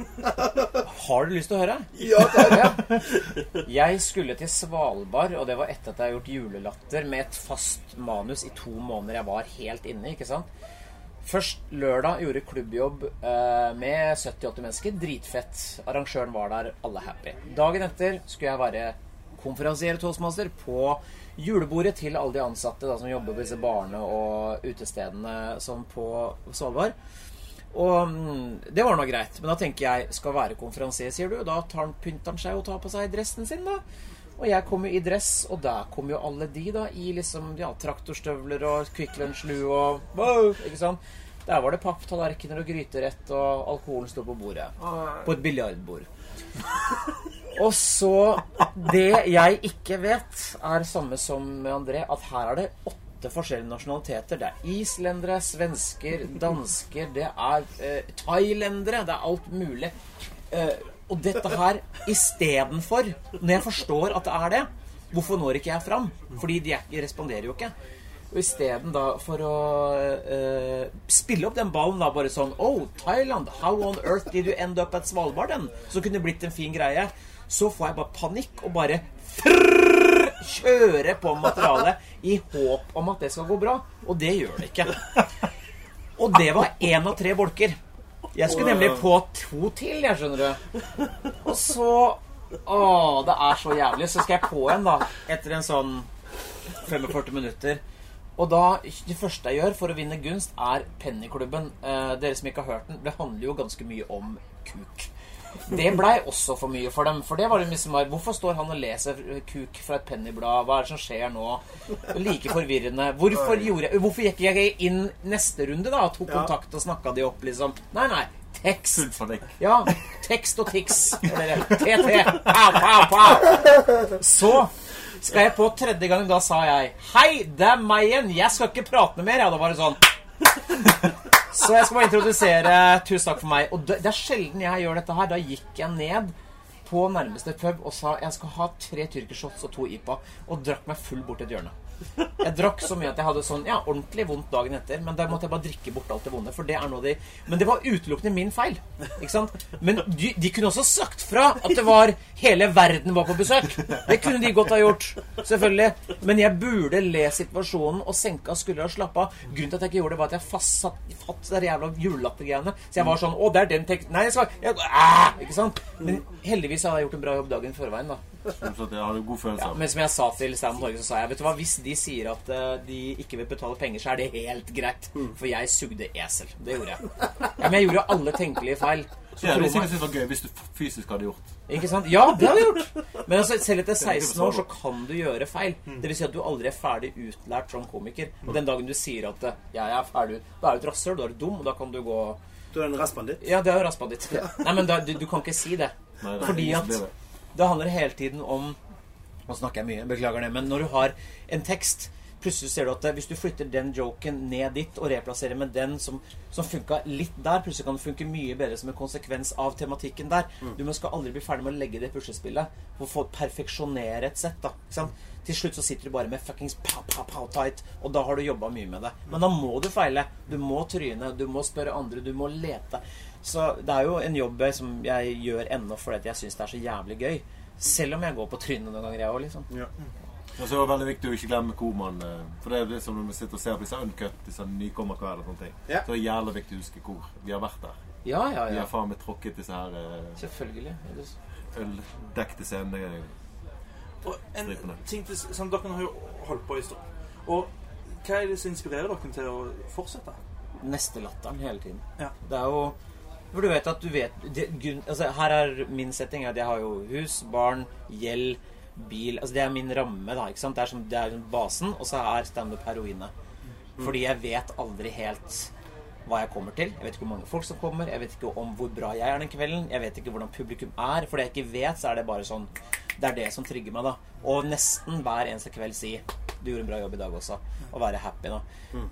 Speaker 4: Har du lyst til å høre?
Speaker 2: Ja, takk.
Speaker 4: Jeg skulle til Svalbard, og det var etter at jeg har gjort julelatter med et fast manus i to måneder jeg var helt inne, ikke sant? Først lørdag gjorde klubbjobb eh, med 70-80 mennesker. Dritfett. Arrangøren var der, alle happy. Dagen etter skulle jeg være konferansier i toastmaster på julebordet til alle de ansatte da, som jobber på disse barene og utestedene som på Svalbard. Og mm, det var nå greit, men da tenker jeg skal være konferansier, sier du. Da tar han, pynter han seg og tar på seg dressen sin, da. Og jeg kom jo i dress, og der kom jo alle de, da. I liksom ja, traktorstøvler og Kvikk Lunsj-lue og wow, Ikke sant? Der var det papptallerkener og gryterett, og alkoholen sto på bordet. På et biljardbord. Og så Det jeg ikke vet, er samme som med André, at her er det åtte forskjellige nasjonaliteter. Det er islendere, svensker, dansker, det er eh, thailendere, det er alt mulig. Eh, og dette her istedenfor, når jeg forstår at det er det, hvorfor når ikke jeg fram? Fordi de er, de responderer jo ikke. Og isteden da for å eh, spille opp den ballen da bare sånn Oh, Thailand, how on earth did you end up at Svalbard then? Så kunne det blitt en fin greie. Så får jeg bare panikk og bare frrrr, kjøre på materialet i håp om at det skal gå bra. Og det gjør det ikke. Og det var én av tre bolker. Jeg skulle nemlig på to til, jeg, skjønner du. Og så Å, det er så jævlig. Så skal jeg på en, da, etter en sånn 45 minutter. Og da, Det første jeg gjør for å vinne gunst, er Pennyklubben. Eh, dere som ikke har hørt den, det handler jo ganske mye om kuk. Det blei også for mye for dem. For det var det liksom bare, Hvorfor står han og leser kuk fra et pennyblad? Hva er det som skjer nå? Like forvirrende. Hvorfor, gjorde jeg, hvorfor gikk jeg ikke inn neste runde, da? Tok kontakt og snakka de opp, liksom? Nei, nei. Tekst.
Speaker 5: Panikk.
Speaker 4: Ja, tekst og tics. Eller TT. Pow, pow, pow. Så skal jeg på tredje gang, da sa jeg Hei, det er meg igjen. Jeg skal ikke prate mer. Ja, det var det sånn. Så jeg skal bare introdusere Tusen takk for meg. Og det, det er sjelden jeg gjør dette her. Da gikk jeg ned på nærmeste pub og sa jeg skal ha tre tyrkershots og to IPA, og drakk meg full bort til et hjørne. Jeg drakk så mye at jeg hadde sånn, ja, ordentlig vondt dagen etter, men da måtte jeg bare drikke bort alt det vonde. for det er noe de... Men det var utelukkende min feil. ikke sant? Men de, de kunne også sagt fra at det var hele verden var på besøk. Det kunne de godt ha gjort. Selvfølgelig. Men jeg burde le situasjonen og senka skuldra og slappe av. Grunnen til at jeg ikke gjorde det, var at jeg fast satt fatt der jævla julelattergreiene. Så jeg var sånn Å, det er den teksten Nei, jeg skal jeg, ah! Ikke sant? Men heldigvis hadde jeg gjort en bra jobb dagen i forveien, da.
Speaker 5: Så det sånn har du god følelse
Speaker 4: Ja,
Speaker 5: av.
Speaker 4: men som jeg sa til Stand Norge, så sa jeg Vet du hva, hvis de sier at eh, de ikke vil betale penger, så er det helt greit. For jeg sugde esel. Det gjorde jeg. Ja, men jeg gjorde alle tenkelige feil. Så
Speaker 5: Ja,
Speaker 4: tro
Speaker 5: det
Speaker 4: meg.
Speaker 5: synes jeg var sånn gøy hvis du f- fysisk hadde gjort.
Speaker 4: Ikke sant? Ja, det har jeg gjort! Men altså, selv etter 16 år så kan du gjøre feil.
Speaker 5: Mm.
Speaker 4: Det vil si at du aldri er ferdig utlært som komiker. Og den dagen du sier at eh, 'jeg er ferdig', da er du et rasshøl, da er du dum, og da kan du gå
Speaker 2: Du er en rassbanditt.
Speaker 4: Ja, det er jo raspa ditt. Nei, men da, du, du kan ikke si det.
Speaker 5: Nei, det er
Speaker 4: Fordi
Speaker 5: ingen som
Speaker 4: at
Speaker 5: blir det.
Speaker 4: det handler hele tiden om Nå snakker jeg mye, beklager det, men når du har en tekst Plutselig ser du at det- hvis du flytter den joken ned dit og replasserer med den som, som funka litt der, plutselig kan det funke mye bedre som en konsekvens av tematikken der. Du må- skal aldri bli ferdig med å legge det puslespillet for å få perfeksjonere et sett. da, ikke sant? Til slutt så sitter du bare med fuckings pow, pow, pow tight, og da har du jobba mye med det. Men da må du feile. Du må tryne, du må spørre andre, du må lete. Så det er jo en jobb som jeg gjør ennå fordi at jeg syns det er så jævlig gøy. Selv om jeg går på trynet noen ganger, jeg òg, liksom.
Speaker 5: Og så er det veldig viktig å ikke glemme hvor man eh, For det er jo det som når vi sitter og ser på disse uncut, disse nykommerkvelder og sånne ting.
Speaker 2: Ja.
Speaker 5: Så det er jævlig viktig å huske hvor vi har vært der.
Speaker 4: Ja, ja,
Speaker 5: Vi
Speaker 4: ja.
Speaker 5: har faen meg tråkket disse her eh,
Speaker 4: Selvfølgelig. Ja, det-
Speaker 5: øldekte scenene.
Speaker 1: Og en
Speaker 5: Stripene.
Speaker 1: ting til, sånn, Dere har jo holdt på en stund. Og hva er det som inspirerer dere til å fortsette?
Speaker 4: Neste latteren hele tiden.
Speaker 1: Ja.
Speaker 4: Det er jo For du vet at du vet det, grunn- altså, Her er min setting at jeg har jo hus, barn, gjeld, bil Altså det er min ramme, da. ikke sant? Det er, som, det er basen, og så er standup heroinet. Fordi jeg vet aldri helt hva jeg kommer til. Jeg vet ikke hvor mange folk som kommer, jeg vet ikke om hvor bra jeg er den kvelden, jeg vet ikke hvordan publikum er. For det jeg ikke vet, så er det bare sånn Det er det som trigger meg, da. Og nesten hver eneste kveld si du gjorde en bra jobb i dag også. Og være happy, da.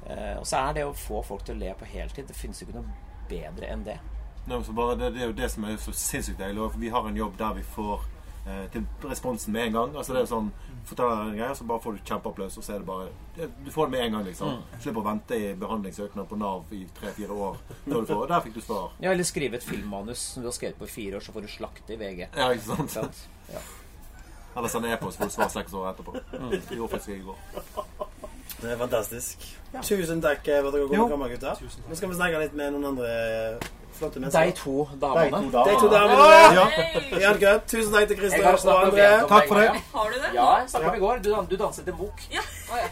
Speaker 4: Eh, og så er det å få folk til å le på heltid. Det finnes jo ikke noe bedre enn det.
Speaker 5: Nei, men så bare, det, det er jo det som er så sinnssykt deilig. og Vi har en jobb der vi får eh, til responsen med en gang. Altså det er sånn, Forteller en greie, så bare får du kjempeapplaus, og så er det bare det- Du får det med en gang, liksom. Slipper å vente i behandlingssøknad på Nav i tre-fire år. Når du får, og der fikk du svar.
Speaker 4: Ja, eller skrive et filmmanus som du har skrevet på i fire år, så får du slakte i VG.
Speaker 5: Ja, ikke sant?
Speaker 4: Sant? Ja.
Speaker 5: Eller sende e-post, får du svar seks år etterpå. Det gjorde faktisk jeg i går.
Speaker 2: Det er fantastisk. Tusen takk eh, for at dere
Speaker 4: Jo.
Speaker 2: kunne komme, gutter. Nå skal vi snakke litt med noen andre eh, flotte
Speaker 4: De
Speaker 2: mennesker.
Speaker 4: to
Speaker 5: Nei, to
Speaker 4: damene.
Speaker 5: damer.
Speaker 2: De to damene.
Speaker 6: Hei!
Speaker 2: i Anker. Tusen takk til
Speaker 4: Jeg kan
Speaker 2: Christer
Speaker 4: snakke
Speaker 2: og
Speaker 4: om det.
Speaker 2: André.
Speaker 5: Takk for det.
Speaker 6: Har du det?
Speaker 4: Ja, jeg snakket om i går. Du, dan- du danset en bok.
Speaker 6: Ja. Å, ja.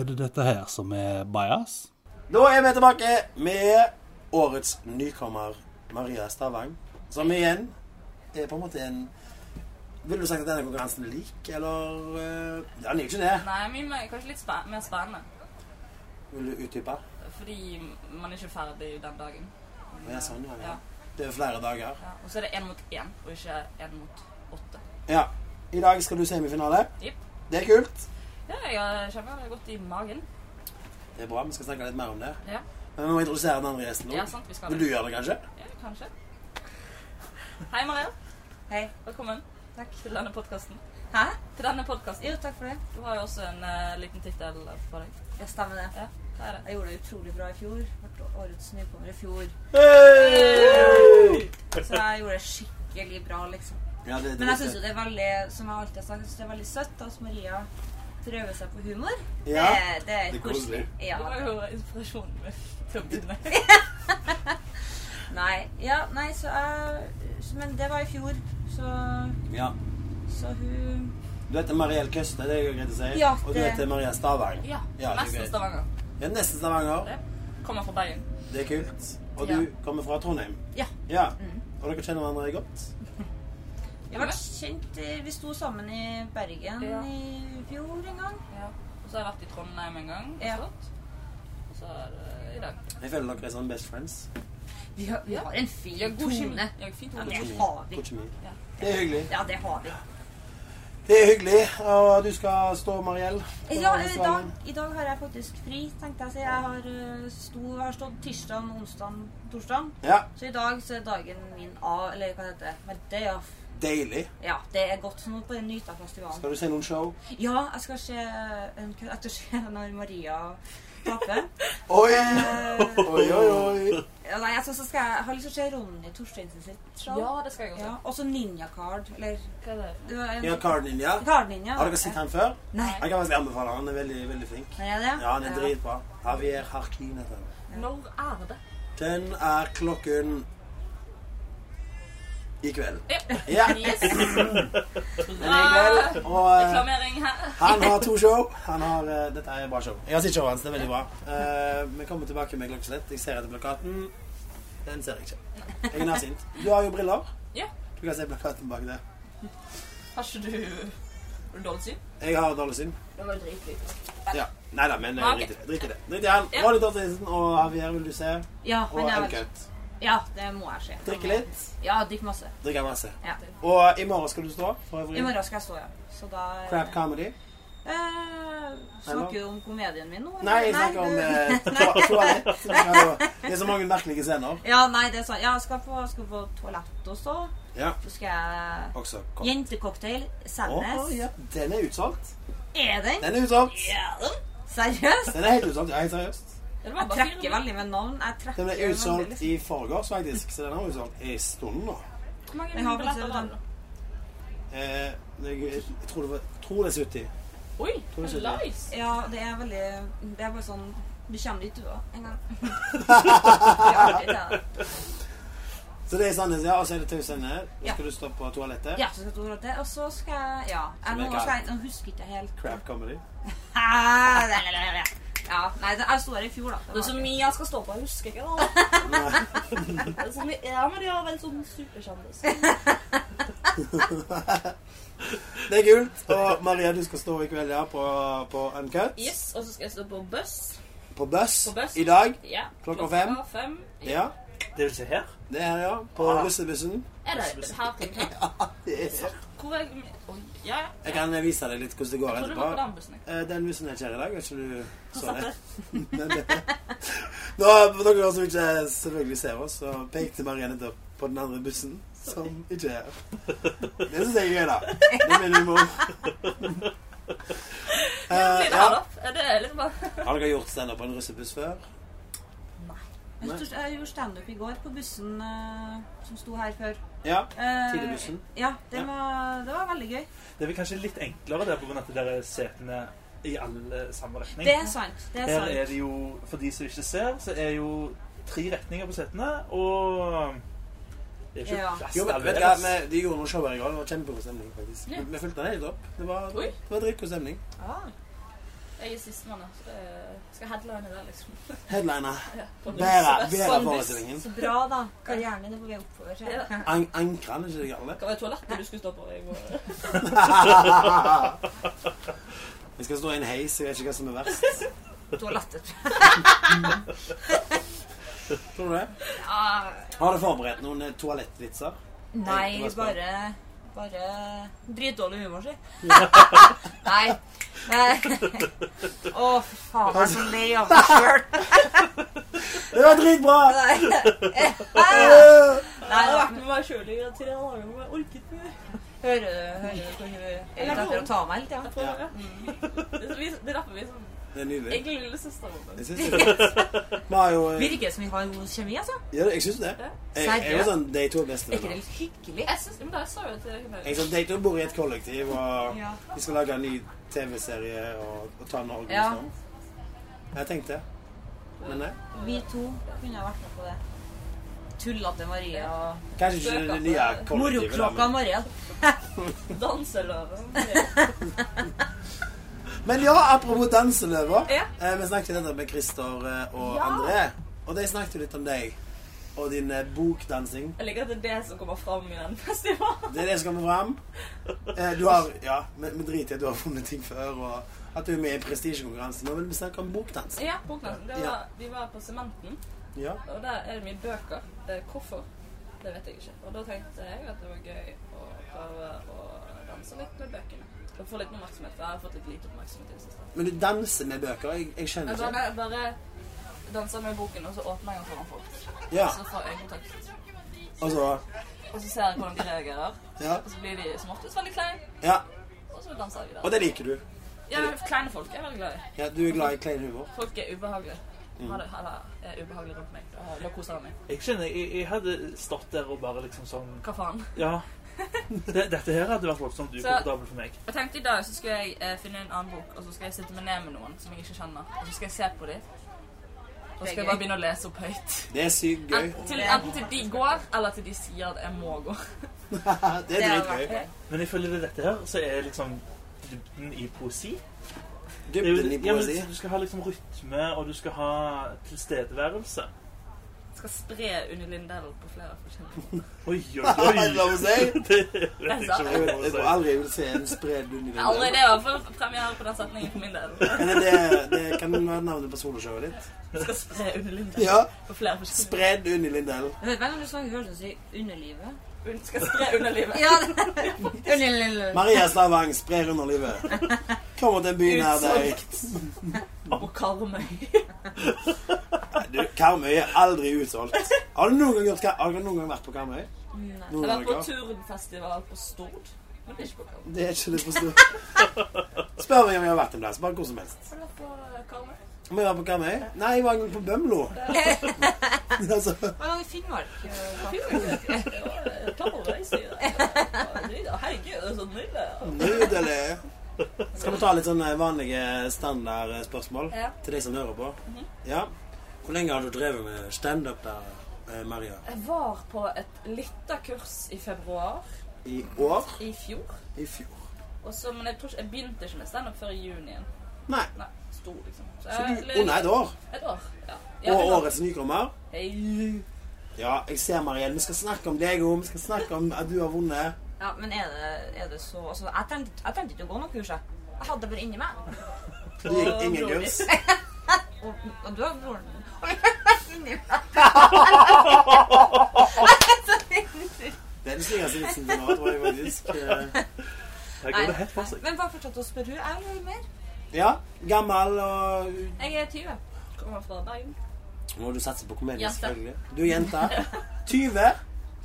Speaker 7: er det dette her som er bias?
Speaker 2: Nå er vi tilbake med årets nykommer Maria Stavang, som igjen er på en måte en Ville du sagt at denne konkurransen er lik, eller eh, Ja, den er jo ikke det.
Speaker 6: Nei, min er kanskje litt spen mer spennende.
Speaker 2: Vil du utdype?
Speaker 6: Fordi man er ikke ferdig den dagen.
Speaker 2: Ja, sånn, ja, ja.
Speaker 6: Ja.
Speaker 2: Det er flere dager.
Speaker 6: Ja. Og så er det én mot én, og ikke én mot åtte.
Speaker 2: Ja. I dag skal du semifinale.
Speaker 6: Jipp.
Speaker 2: Det er kult.
Speaker 6: Ja, jeg kjenner det godt i magen.
Speaker 2: Det er bra. Vi skal snakke litt mer om det.
Speaker 6: Ja,
Speaker 2: Men vi må introdusere den andre gjesten nå.
Speaker 6: ja sant, vi skal
Speaker 2: Vil du gjøre det, kanskje?
Speaker 6: Ja, kanskje. Hei, Maria. Hei. Velkommen Takk. til denne podkasten. Hæ? Til denne podcasten.
Speaker 8: Jo, takk for det.
Speaker 6: Du har jo også en eh, liten tittel på deg.
Speaker 8: Jeg stemmer det.
Speaker 6: Ja, hva er det?
Speaker 8: Jeg gjorde det utrolig bra i fjor. Ble årets nykommer i fjor. Så jeg gjorde det skikkelig bra, liksom.
Speaker 2: Ja, det, det
Speaker 8: Men jeg
Speaker 2: vet
Speaker 8: syns jo det er veldig som jeg alltid har sagt, jeg synes det er veldig søtt at Maria prøver seg på humor.
Speaker 2: Ja.
Speaker 8: Det, det er
Speaker 2: Det er
Speaker 8: koselig.
Speaker 2: koselig.
Speaker 8: Ja.
Speaker 6: Det var jo inspirasjonen min til å begynne.
Speaker 8: Nei, ja, nei, så jeg Men det var i fjor, så
Speaker 2: ja.
Speaker 8: Så hun
Speaker 2: Du heter Mariell Køste, det er jo greit å si.
Speaker 8: Ja,
Speaker 2: Og du
Speaker 8: det-
Speaker 2: heter Maria Stavang.
Speaker 6: Ja.
Speaker 2: Ja, det er
Speaker 6: Nesten
Speaker 2: gøy.
Speaker 6: Stavanger.
Speaker 2: Ja, nesten Stavanger.
Speaker 6: Det Kommer fra Bergen.
Speaker 2: Det er kult. Og
Speaker 6: Ja.
Speaker 2: du kommer fra Trondheim.
Speaker 8: Ja. Mhm.
Speaker 2: ja. Og dere kjenner hverandre godt?
Speaker 8: Jeg ble kjent eh, Vi sto sammen i Bergen
Speaker 6: Ja.
Speaker 8: i fjor en gang.
Speaker 6: Ja. Og så har jeg vært i Trondheim en gang.
Speaker 8: Ja.
Speaker 6: forstått. Og så er det i dag.
Speaker 2: Jeg føler dere er sånn best friends.
Speaker 8: Vi har, vi har en fin
Speaker 6: Ja, god
Speaker 8: tone.
Speaker 6: kjemi. Ja, fint
Speaker 8: Ja,
Speaker 6: ord.
Speaker 8: det har vi.
Speaker 2: God kjemi. Det er hyggelig.
Speaker 8: Ja, det har vi.
Speaker 2: Det er hyggelig, og du skal stå, Mariell. på
Speaker 8: Ja, i dag,
Speaker 2: Svalbard.
Speaker 8: I dag har jeg faktisk fri, tenkte jeg å si. Jeg har, eh, sto, har stått tirsdag, onsdag, torsdag.
Speaker 2: Ja,
Speaker 8: Så i dag så er dagen min av, eller hva heter det, med day off.
Speaker 2: deilig.
Speaker 8: Ja, det er godt. Så nå bare nyter jeg festivalen.
Speaker 2: Skal du se noen show?
Speaker 8: Ja, jeg skal se en kø- etter se når Maria taper.
Speaker 2: Oi,
Speaker 8: Eh,
Speaker 2: oi, oi. oi.
Speaker 8: ja, nei, altså, så skal jeg, jeg har lyst til å se Ronny Torsteinsen sitt show.
Speaker 6: Ja, det skal jeg også.
Speaker 8: Ja, også Ninja Card. Eller
Speaker 6: Hva er det?
Speaker 8: det var en,
Speaker 2: Ja, Card Ninja.
Speaker 8: Card Ninja.
Speaker 2: Har dere sett han før?
Speaker 8: Nei.
Speaker 2: Jeg kan faktisk anbefale han. Han er veldig, veldig flink.
Speaker 8: Er det det?
Speaker 2: Ja, han er dritbra. Javier Harkin heter han.
Speaker 6: Når er det?
Speaker 2: Den er klokken i kveld.
Speaker 6: Ja.
Speaker 2: Ja,
Speaker 6: Yes.
Speaker 2: den er i kveld. Og eh,
Speaker 6: Reklamering her.
Speaker 2: han har to show. Han har, eh, dette er bra show. Jeg har sett showet hans. Det er veldig bra. Eh, vi kommer tilbake med klokkeslett. Jeg ser etter plakaten. Den ser jeg ikke. Jeg er nærsint. Du har jo briller.
Speaker 6: Ja.
Speaker 2: Du kan se plakaten bak der.
Speaker 6: Har ikke du dårlig syn?
Speaker 2: Jeg har dårlig syn.
Speaker 6: Det var dritkritisk.
Speaker 2: Ja. Nei da, men
Speaker 6: Ah,
Speaker 2: jeg
Speaker 6: ok.
Speaker 2: driter drit i det. Drit i han.
Speaker 6: Ja.
Speaker 2: Ronny Torstensen og Javier vil du se.
Speaker 8: Ja,
Speaker 2: Og
Speaker 8: men jeg, vel-
Speaker 2: Uncut.
Speaker 8: ja, det må jeg se.
Speaker 2: Drikke litt.
Speaker 8: Ja, drikk masse.
Speaker 2: Drikke masse.
Speaker 8: Ja.
Speaker 2: Og i morgen skal du stå, for
Speaker 8: I
Speaker 2: øvrig.
Speaker 8: morgen skal jeg stå, ja. Så da
Speaker 2: Crap comedy.
Speaker 8: eh, Snakker du om komedien min nå? eller?
Speaker 2: Nei, jeg snakker om eh, toa- toalett. Det er jo- Det er så mange merkelige scener.
Speaker 8: Ja, nei, det er sant. Ja, jeg skal på, skal på toalett også.
Speaker 2: Ja.
Speaker 8: Så skal jeg
Speaker 2: Også kom.
Speaker 8: Jentecocktail. Sandnes.
Speaker 2: Å, ja. Den er utsolgt.
Speaker 8: Er den?
Speaker 2: Den er utsolgt.
Speaker 8: Seriøst?
Speaker 2: Den er helt utsolgt. Ja, helt seriøst.
Speaker 6: Det var
Speaker 8: Jeg
Speaker 6: bare fire
Speaker 8: trekker veldig med navn. Jeg trekker
Speaker 2: Den ble
Speaker 8: veldig.
Speaker 2: utsolgt i forgårs, faktisk. Så den er utsolgt i stunden nå.
Speaker 6: Hvor mange
Speaker 8: Jeg har sånn-
Speaker 6: billetter
Speaker 8: faktisk
Speaker 6: var det?
Speaker 2: Eh, jeg, jeg tror det var jeg tror det er 70.
Speaker 6: Oi,
Speaker 2: Tror du det?
Speaker 6: nice.
Speaker 8: Ja, det er veldig Det er bare sånn Du kommer dit, du òg, en gang.
Speaker 2: Så det er Sandnes, ja. Og så er det Tausende. Nå
Speaker 8: Ja.
Speaker 2: skal du stå på toalettet.
Speaker 8: Ja, så skal jeg tro at det. Og så skal jeg Ja. Jeg, nå, skal jeg, nå husker ikke jeg helt.
Speaker 2: Crap comedy.
Speaker 8: Ah, la, la, la, la. Ja, nei, det, jeg sto her i fjor, da. Det
Speaker 6: Det er
Speaker 8: var-
Speaker 6: så mye jeg skal stå på, jeg husker ikke det. det er så mye, ja, men jeg er veldig sånn superkjendis.
Speaker 2: Det er kult. Og Maria, du skal stå i kveld ja, på, på Uncut.
Speaker 6: Yes, og så skal jeg stå på buss.
Speaker 2: På buss
Speaker 6: På buss.
Speaker 2: i dag.
Speaker 6: Ja,
Speaker 2: Klokka fem.
Speaker 6: fem.
Speaker 2: Ja,
Speaker 1: Det vil si her.
Speaker 2: det er her, ja. På
Speaker 1: Ah.
Speaker 2: russebussen.
Speaker 6: Er det her til her?
Speaker 2: Det er her.
Speaker 6: Hvor er Oi, ja.
Speaker 2: Jeg kan vise deg litt hvordan det går
Speaker 6: Jeg tror det var på
Speaker 2: etterpå.
Speaker 6: den bussen. jeg.
Speaker 2: Eh, Den bussen er ikke her i dag, vet ikke du så det. Men det- Nå, for dere som ikke selvfølgelig ser oss, så pekte Maria nettopp på den andre bussen, som ikke er her. Det syns jeg er gøy, da. Det er min humor. Eh,
Speaker 6: Blir det
Speaker 2: ja.
Speaker 6: her opp? Er det litt bare...
Speaker 2: Har dere gjort standup på en russebuss før?
Speaker 8: Jeg stod- Jeg gjorde standup i går på bussen eh, som sto her før.
Speaker 2: Ja.
Speaker 8: Eh,
Speaker 2: Tidligbussen.
Speaker 8: Ja, det
Speaker 2: Ja.
Speaker 8: var, det var veldig gøy.
Speaker 1: Det er vel kanskje litt enklere der pga. at der er setene i alle samme retning.
Speaker 8: Det er sant. Det er
Speaker 1: Her er
Speaker 8: sant.
Speaker 1: det jo, for de som ikke ser, så er jo tre retninger på setene, og det er ikke
Speaker 8: Ja.
Speaker 1: plass
Speaker 2: Jo,
Speaker 1: til
Speaker 2: men,
Speaker 1: alle,
Speaker 2: vet du hva,
Speaker 1: ass.
Speaker 2: vi, De gjorde noen show her i går. Det var kjempegod stemning, faktisk.
Speaker 6: Ja.
Speaker 2: Vi fulgte den helt opp. Det var,
Speaker 6: Oi.
Speaker 2: det var dritgod stemning.
Speaker 6: Ah. Jeg er sistemann, altså. Eh, Skal headline der, liksom.
Speaker 2: Headliner.
Speaker 6: På buss.
Speaker 2: Bæra, bæra
Speaker 6: Sånn buss.
Speaker 2: forestillingen.
Speaker 8: Så bra, da. Karrieren din er på vei oppover. ser jeg.
Speaker 2: An Ankran, er ikke det gale?
Speaker 6: Hva var toalettet du skulle stå på? Jeg må...
Speaker 2: Vi skal stå i en heis, jeg vet ikke hva som er verst.
Speaker 8: Toalettet.
Speaker 2: Tror du det?
Speaker 8: Ja.
Speaker 2: Har du forberedt noen eh, toalettvitser?
Speaker 8: Nei,
Speaker 2: Det var spennende.
Speaker 8: bare Bare dritdårlig humor, si. Nei. Eh, Å, fy faen, jeg er så lei av meg sjøl.
Speaker 2: Det var dritbra!
Speaker 8: Nei,
Speaker 2: Eh,
Speaker 8: nei,
Speaker 6: Jeg har
Speaker 8: da.
Speaker 6: vært med meg sjøl i tre dager, men jeg orket ikke.
Speaker 8: Hører du hører du hvor hun er ute etter å ta meg hele tida?
Speaker 6: tror jeg. Det er så vi- det er derfor vi som
Speaker 2: Det er nydelig.
Speaker 6: egentlig lillesøster. vår.
Speaker 2: Jeg syns det. er fint. Vi har jo eh,
Speaker 8: Virker som vi har god kjemi, altså.
Speaker 2: Ja, jeg syns det. Jeg, jeg er jo sånn de to er
Speaker 8: Er ikke det
Speaker 2: bestevenner.
Speaker 8: litt hyggelig?
Speaker 6: Jeg synes, men da sa jo til henne
Speaker 2: Jeg er sånn, De to bor i et kollektiv, og
Speaker 8: Ja.
Speaker 2: vi skal lage en ny TV-serie og, og ta Norge
Speaker 8: Ja.
Speaker 2: og sånn. Jeg tenkte Men nei.
Speaker 8: Vi to kunne ha vært med på det. Tullete Marie og
Speaker 2: Kanskje ikke det nye kollektivet. da,
Speaker 8: Morokråka Marie.
Speaker 6: danseløven.
Speaker 2: Men ja, apropos danseløver.
Speaker 6: Ja.
Speaker 2: Eh, vi snakket nettopp med Christer eh, og
Speaker 6: Ja.
Speaker 2: André. Og de snakket jo litt om deg og din eh, bokdansing.
Speaker 6: Jeg liker at det er det som kommer fram i den festivalen.
Speaker 2: Det er det som kommer fram. Eh, du har Ja, vi vi driter i at du har funnet ting før, og, At du er med i prestisjekonkurransen. Nå vil vi snakke om bokdans.
Speaker 6: Ja, Boknasen. Det
Speaker 2: Ja.
Speaker 6: var, vi var på Sementen,
Speaker 2: Ja.
Speaker 6: og der er det mye bøker. Eh, Hvorfor? Det vet jeg ikke. Og da tenkte jeg at det var gøy å prøve å danse litt med bøkene. Og få litt oppmerksomhet, for jeg har fått litt lite oppmerksomhet i det siste.
Speaker 2: Men du danser med bøker. Jeg, jeg skjønner
Speaker 6: Altså,
Speaker 2: ikke.
Speaker 6: jeg bare danser med boken, og så åpner jeg den foran folk.
Speaker 2: Ja, altså,
Speaker 6: Og så får jeg kontakt.
Speaker 2: og så
Speaker 6: Og så ser jeg hvordan de reagerer.
Speaker 2: Ja.
Speaker 6: Og så blir de som oftest veldig kleine,
Speaker 2: ja.
Speaker 6: og så danser jeg
Speaker 2: Og
Speaker 6: videre.
Speaker 2: det liker du.
Speaker 6: Ja, kleine folk er jeg veldig glad i.
Speaker 2: Ja, du er glad i klein humor.
Speaker 6: Folk er ubehagelige.
Speaker 2: Mm.
Speaker 6: Ha det, ha det er ubehagelig rundt meg. Da, da koser jeg meg.
Speaker 1: Jeg skjønner, jeg, jeg hadde stått der og bare liksom sånn
Speaker 6: Hva faen?
Speaker 1: Ja. Det, dette her hadde vært voldsomt ukomfortabelt for meg.
Speaker 6: Jeg tenkte i dag så skulle jeg eh, finne en annen bok, og så skal jeg sitte meg ned med noen som jeg ikke kjenner. Og så skal jeg se på dem. Og så skal jeg bare begynne å lese opp høyt.
Speaker 2: Det er sykt gøy.
Speaker 6: Enten til, enten til de går, eller til de sier at jeg må gå.
Speaker 2: Det er dritgøy.
Speaker 1: Men ifølge dette her så er liksom dybden i poesi Det er jo-
Speaker 2: Dybden i
Speaker 1: Ja, men
Speaker 2: poesi.
Speaker 1: du skal ha liksom rytme, og du skal ha tilstedeværelse.
Speaker 6: Skal spre Unni Lindell på flere forskjellige
Speaker 1: Oi, oi,
Speaker 2: Hva
Speaker 1: oi!
Speaker 2: er det lov å si?
Speaker 1: Det vet jeg ikke
Speaker 2: Jeg,
Speaker 1: hva jeg
Speaker 2: jeg
Speaker 1: må
Speaker 2: tror
Speaker 1: si.
Speaker 2: aldri jeg vil se en spredd unni
Speaker 6: Aldri det, i hvert fall premiere på den setningen for min del.
Speaker 2: Men det, det kan være navnet på soloshowet ditt.
Speaker 6: Skal spre Unni Lindell
Speaker 2: Ja.
Speaker 6: på flere forskjellige
Speaker 2: Spredd Unni Lindell.
Speaker 8: Jeg vet hvem du snakker først og sier underlivet.
Speaker 6: Un- Skal spre underlivet.
Speaker 8: Ja, det Underlivet.
Speaker 2: Maria Stavang sprer underlivet. Kommer til en by nær deg.
Speaker 6: Og Karmøy.
Speaker 2: Du, Karmøy er aldri utsolgt. Har du noen gang, gjort, Kar- har du noen gang vært på Karmøy?
Speaker 6: Jeg
Speaker 2: Noen
Speaker 6: har vært på
Speaker 2: ganger.
Speaker 6: Turenfestival på Stord, men det er ikke på Karmøy.
Speaker 2: Det er ikke det forstått. Spør meg om jeg har vært en plass. Bare hvor som helst.
Speaker 6: Har du vært på eh, Karmøy?
Speaker 2: Om jeg var på Karmøy? Nei, jeg var en gang på Bømlo. altså,
Speaker 8: Han var i Finnmark.
Speaker 6: eh, Herregud, det er så nydelig.
Speaker 2: nydelig. Skal vi ta litt sånne vanlige standardspørsmål
Speaker 6: Ja. Mhm.
Speaker 2: til de som hører på? Ja. Hvor lenge har du drevet med standup der, eh, Maria?
Speaker 6: Jeg var på et lytterkurs i februar
Speaker 2: I år?
Speaker 6: i fjor.
Speaker 2: I fjor?
Speaker 6: Og så, men jeg, tror ikke, jeg begynte ikke med standup før i junien.
Speaker 2: Nei.
Speaker 6: Nei, sto liksom. Så
Speaker 2: Så
Speaker 6: jeg,
Speaker 2: du, under et år.
Speaker 6: Et år. Ja. Ja,
Speaker 2: Og
Speaker 6: et år.
Speaker 2: årets nykommer.
Speaker 6: Hei.
Speaker 2: Ja, jeg ser Marielle. Vi skal snakke om deg òg. Vi skal snakke om at du har vunnet.
Speaker 8: Ja, men er det, er det så altså, jeg, tenkte, jeg tenkte ikke å gå noe kurs, jeg. Jeg hadde det bare inni meg.
Speaker 2: Du gikk ingen kurs.
Speaker 8: Og, og du har broren min. Inni meg.
Speaker 2: Det er den styggeste vitsen til nå, tror jeg faktisk. Eh,
Speaker 1: Her går det helt for seg.
Speaker 8: Men bare fortsett å spørre. Jeg vil høre mer.
Speaker 2: Ja. Gammel og
Speaker 8: Jeg er 20.
Speaker 6: Kommer fra Bergen.
Speaker 2: Må du satse på komedie,
Speaker 6: Jente.
Speaker 2: selvfølgelig. Du er jente. 20.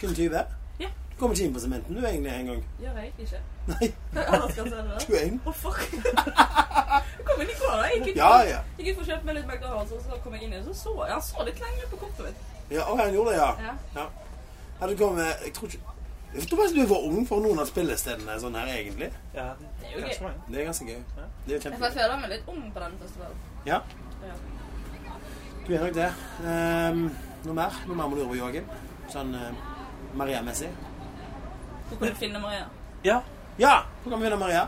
Speaker 2: Kun 20.
Speaker 6: Ja.
Speaker 2: Du kommer ikke inn på sementen du egentlig en gang.
Speaker 6: Gjør jeg ikke.
Speaker 2: Nei,
Speaker 6: Hva skal jeg si da?
Speaker 2: du er inn.
Speaker 6: Hvorfor? Jeg kom inn i går, da. Jeg gikk ut,
Speaker 2: Ja, ja.
Speaker 6: gikk ut for å kjøpe meg litt McDonald's, og så kom jeg inn i det, så så jeg. Han så litt lenger på kortet mitt.
Speaker 2: ja å, han gjorde det, ja.
Speaker 6: Ja.
Speaker 2: ja. Ja, du kommer Jeg tror ikke jeg tror faktisk du er for ung for noen av spillestedene sånn her, egentlig.
Speaker 1: Ja,
Speaker 6: Det er jo
Speaker 1: ganske
Speaker 6: gøy.
Speaker 1: mange.
Speaker 2: Det er ganske gøy. Det er jo
Speaker 6: Jeg
Speaker 2: kjempegøy.
Speaker 6: får føle meg litt ung på denne festivalen.
Speaker 2: Ja.
Speaker 6: Ja.
Speaker 2: Du er nok det. Ehm, noe mer? Noe mer må du gjøre på Joakim? Sånn eh, Maria-messig?
Speaker 6: Hvor kan du finne Maria?
Speaker 1: Ja,
Speaker 2: Ja! Hvor kan vi finne Maria?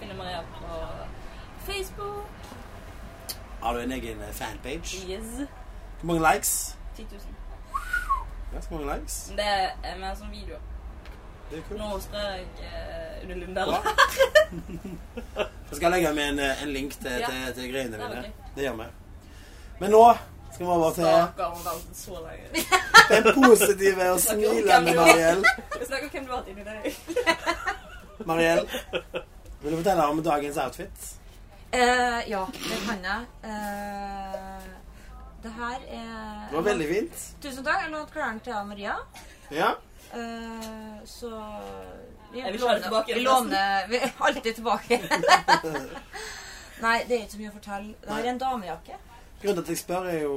Speaker 6: Finne Maria på Facebook.
Speaker 2: Har du en egen eh, fanpage?
Speaker 6: Yes.
Speaker 2: Hvor mange likes?
Speaker 6: 10 000.
Speaker 2: Ja, så mange likes.
Speaker 6: Men Det er mer sånn video.
Speaker 2: Det er kult.
Speaker 6: Nå sprer jeg eh, Unni Lindell.
Speaker 2: Bra. Jeg skal legge med en, eh, en link til,
Speaker 6: Ja.
Speaker 2: til, til greiene
Speaker 6: Det er
Speaker 2: dine.
Speaker 6: ok.
Speaker 2: Det gjør vi. Men nå skal vi over til
Speaker 6: Stakkar, hun ventet sånn så lenge.
Speaker 2: den positive og smilende Mariell.
Speaker 6: Vi snakker om hvem du har hatt inni deg.
Speaker 2: Mariell, vil du fortelle om dagens outfit?
Speaker 8: Eh, ja, det kan jeg. Eh, det her er
Speaker 2: Det var veldig fint.
Speaker 8: Tusen takk. Jeg lånte klærne til Ann Maria.
Speaker 2: Ja.
Speaker 8: Eh, så vi,
Speaker 6: Jeg vil ha det tilbake,
Speaker 8: vi
Speaker 6: resten.
Speaker 8: låner vi, alltid tilbake. Nei, det er ikke så mye å fortelle. Det her er en damejakke.
Speaker 2: Grunnen til at jeg spør, er jo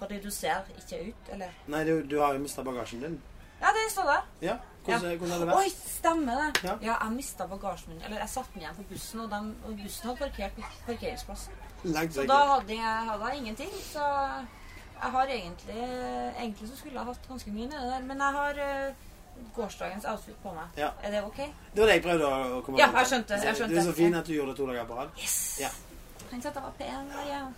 Speaker 8: Fordi du ser ikke ut, eller
Speaker 2: Nei, du, du har jo mista bagasjen din.
Speaker 8: Ja, den står der.
Speaker 2: Ja. Hvordan, hvordan har det
Speaker 8: Oi,
Speaker 2: vært?
Speaker 8: stemmer det.
Speaker 2: Ja.
Speaker 8: Ja, jeg mista bagasjen min. Eller jeg satte den igjen på bussen, og, den, og bussen hadde parkert på parkeringsplassen.
Speaker 2: Langt
Speaker 8: Så da hadde jeg, hadde jeg ingenting. Så jeg har egentlig Egentlig så skulle jeg hatt ganske mye nede der, men jeg har eh, gårsdagens outfit på meg.
Speaker 2: Ja.
Speaker 8: Er det ok?
Speaker 2: Det var det jeg prøvde å å komme
Speaker 8: Ja,
Speaker 2: fram til.
Speaker 8: jeg skjønte, jeg skjønte.
Speaker 2: Du er så fin at du gjorde det to dager på rad.
Speaker 8: Yes!
Speaker 2: Ja.
Speaker 8: Tenkte at jeg var pen. Maria.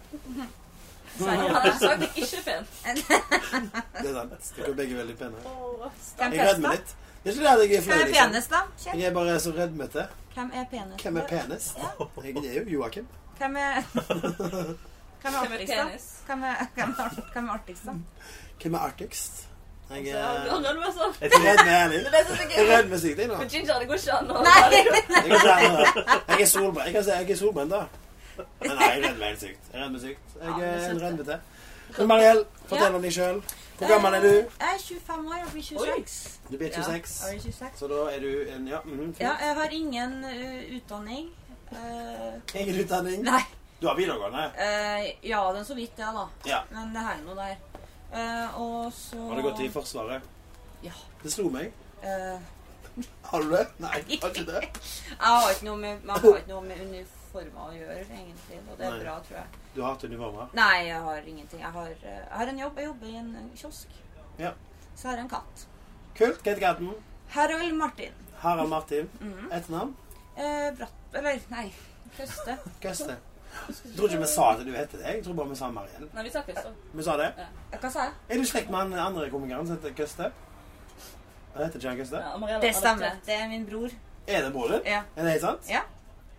Speaker 6: Han har sagt det er ikke pen.
Speaker 2: Det er sant. Dere er begge veldig pene.
Speaker 8: Skal
Speaker 2: Jeg
Speaker 8: jeg
Speaker 2: gleder
Speaker 8: teste?
Speaker 2: meg litt. Det er ikke det at jeg er
Speaker 8: Hvem
Speaker 2: flau,
Speaker 8: er
Speaker 2: liksom.
Speaker 8: penest, da? Kjell?
Speaker 2: Jeg er bare så rødmete.
Speaker 8: Hvem er penest?
Speaker 2: Hvem er penest? Jeg er jo Joakim.
Speaker 8: Hvem er Hvem er
Speaker 6: Hvem er
Speaker 8: artigst, da?
Speaker 6: penis?
Speaker 8: Hvem er, hvem er, art- hvem er artigst, da?
Speaker 2: Hvem er artigst? Jeg
Speaker 6: Ja,
Speaker 2: er
Speaker 6: nå er det bare sånn.
Speaker 2: jeg er redd med ærlig.
Speaker 6: Men det synes
Speaker 2: Jeg
Speaker 6: jeg
Speaker 2: er
Speaker 6: er
Speaker 2: redd med sykt, jeg nå.
Speaker 6: Men Ginger, det går ikke an å
Speaker 2: Jeg er solbrent. Jeg er solbrent. Jeg kan si jeg er solbrent, da. Men nei, jeg er redd med helt sykt. Jeg er redd med sykt. Jeg er en rødmete. Men Mariell, fortell om deg sjøl. Hvor gammel er du?
Speaker 8: Jeg er 25 år og blir 26.
Speaker 2: Du blir 26.
Speaker 8: Jeg blir 26.
Speaker 2: Så da er du en Ja, mhm,
Speaker 8: Ja,
Speaker 2: flott.
Speaker 8: jeg har ingen eh, utdanning. Eh,
Speaker 2: Egen utdanning.
Speaker 8: nei.
Speaker 2: Du har videregående.
Speaker 8: Eh, ja, den så vidt, ja, da.
Speaker 2: Ja.
Speaker 8: Men det her er noe der. Eh, og så
Speaker 2: Har du gått i Forsvaret?
Speaker 8: Ja.
Speaker 2: Det slo meg.
Speaker 8: Eh,
Speaker 2: Har du det? Nei, har ikke det.
Speaker 8: jeg har ikke noe med, jeg har ikke noe med uniformer å gjøre, egentlig. Og det er
Speaker 2: Nei.
Speaker 8: bra, tror jeg.
Speaker 2: Du har hatt uniformer?
Speaker 8: Nei, jeg har ingenting. Jeg har, eh, jeg har en jobb. Jeg jobber i en kiosk.
Speaker 2: Ja.
Speaker 8: Så har jeg en katt.
Speaker 2: Kult. Kate Gaten.
Speaker 8: Harold Martin.
Speaker 2: Harald Martin. Etternavn?
Speaker 8: Eh, bratt... Eller, nei. Høste.
Speaker 2: Gausle. Jeg tror ikke vi sa at du heter det. Jeg tror bare vi sa Mariell.
Speaker 6: Nei, vi snakker ikke sånn.
Speaker 2: Vi sa det.
Speaker 8: Hva sa jeg?
Speaker 2: Er du slekt med han andre komikeren som heter Køste? Han heter ikke han Køste?
Speaker 6: Ja, Marielle
Speaker 8: Det
Speaker 6: har
Speaker 8: stemmer.
Speaker 6: adoptert.
Speaker 8: Det er min bror.
Speaker 2: Er det broren din?
Speaker 8: Ja.
Speaker 2: Er det helt sant?
Speaker 8: Ja.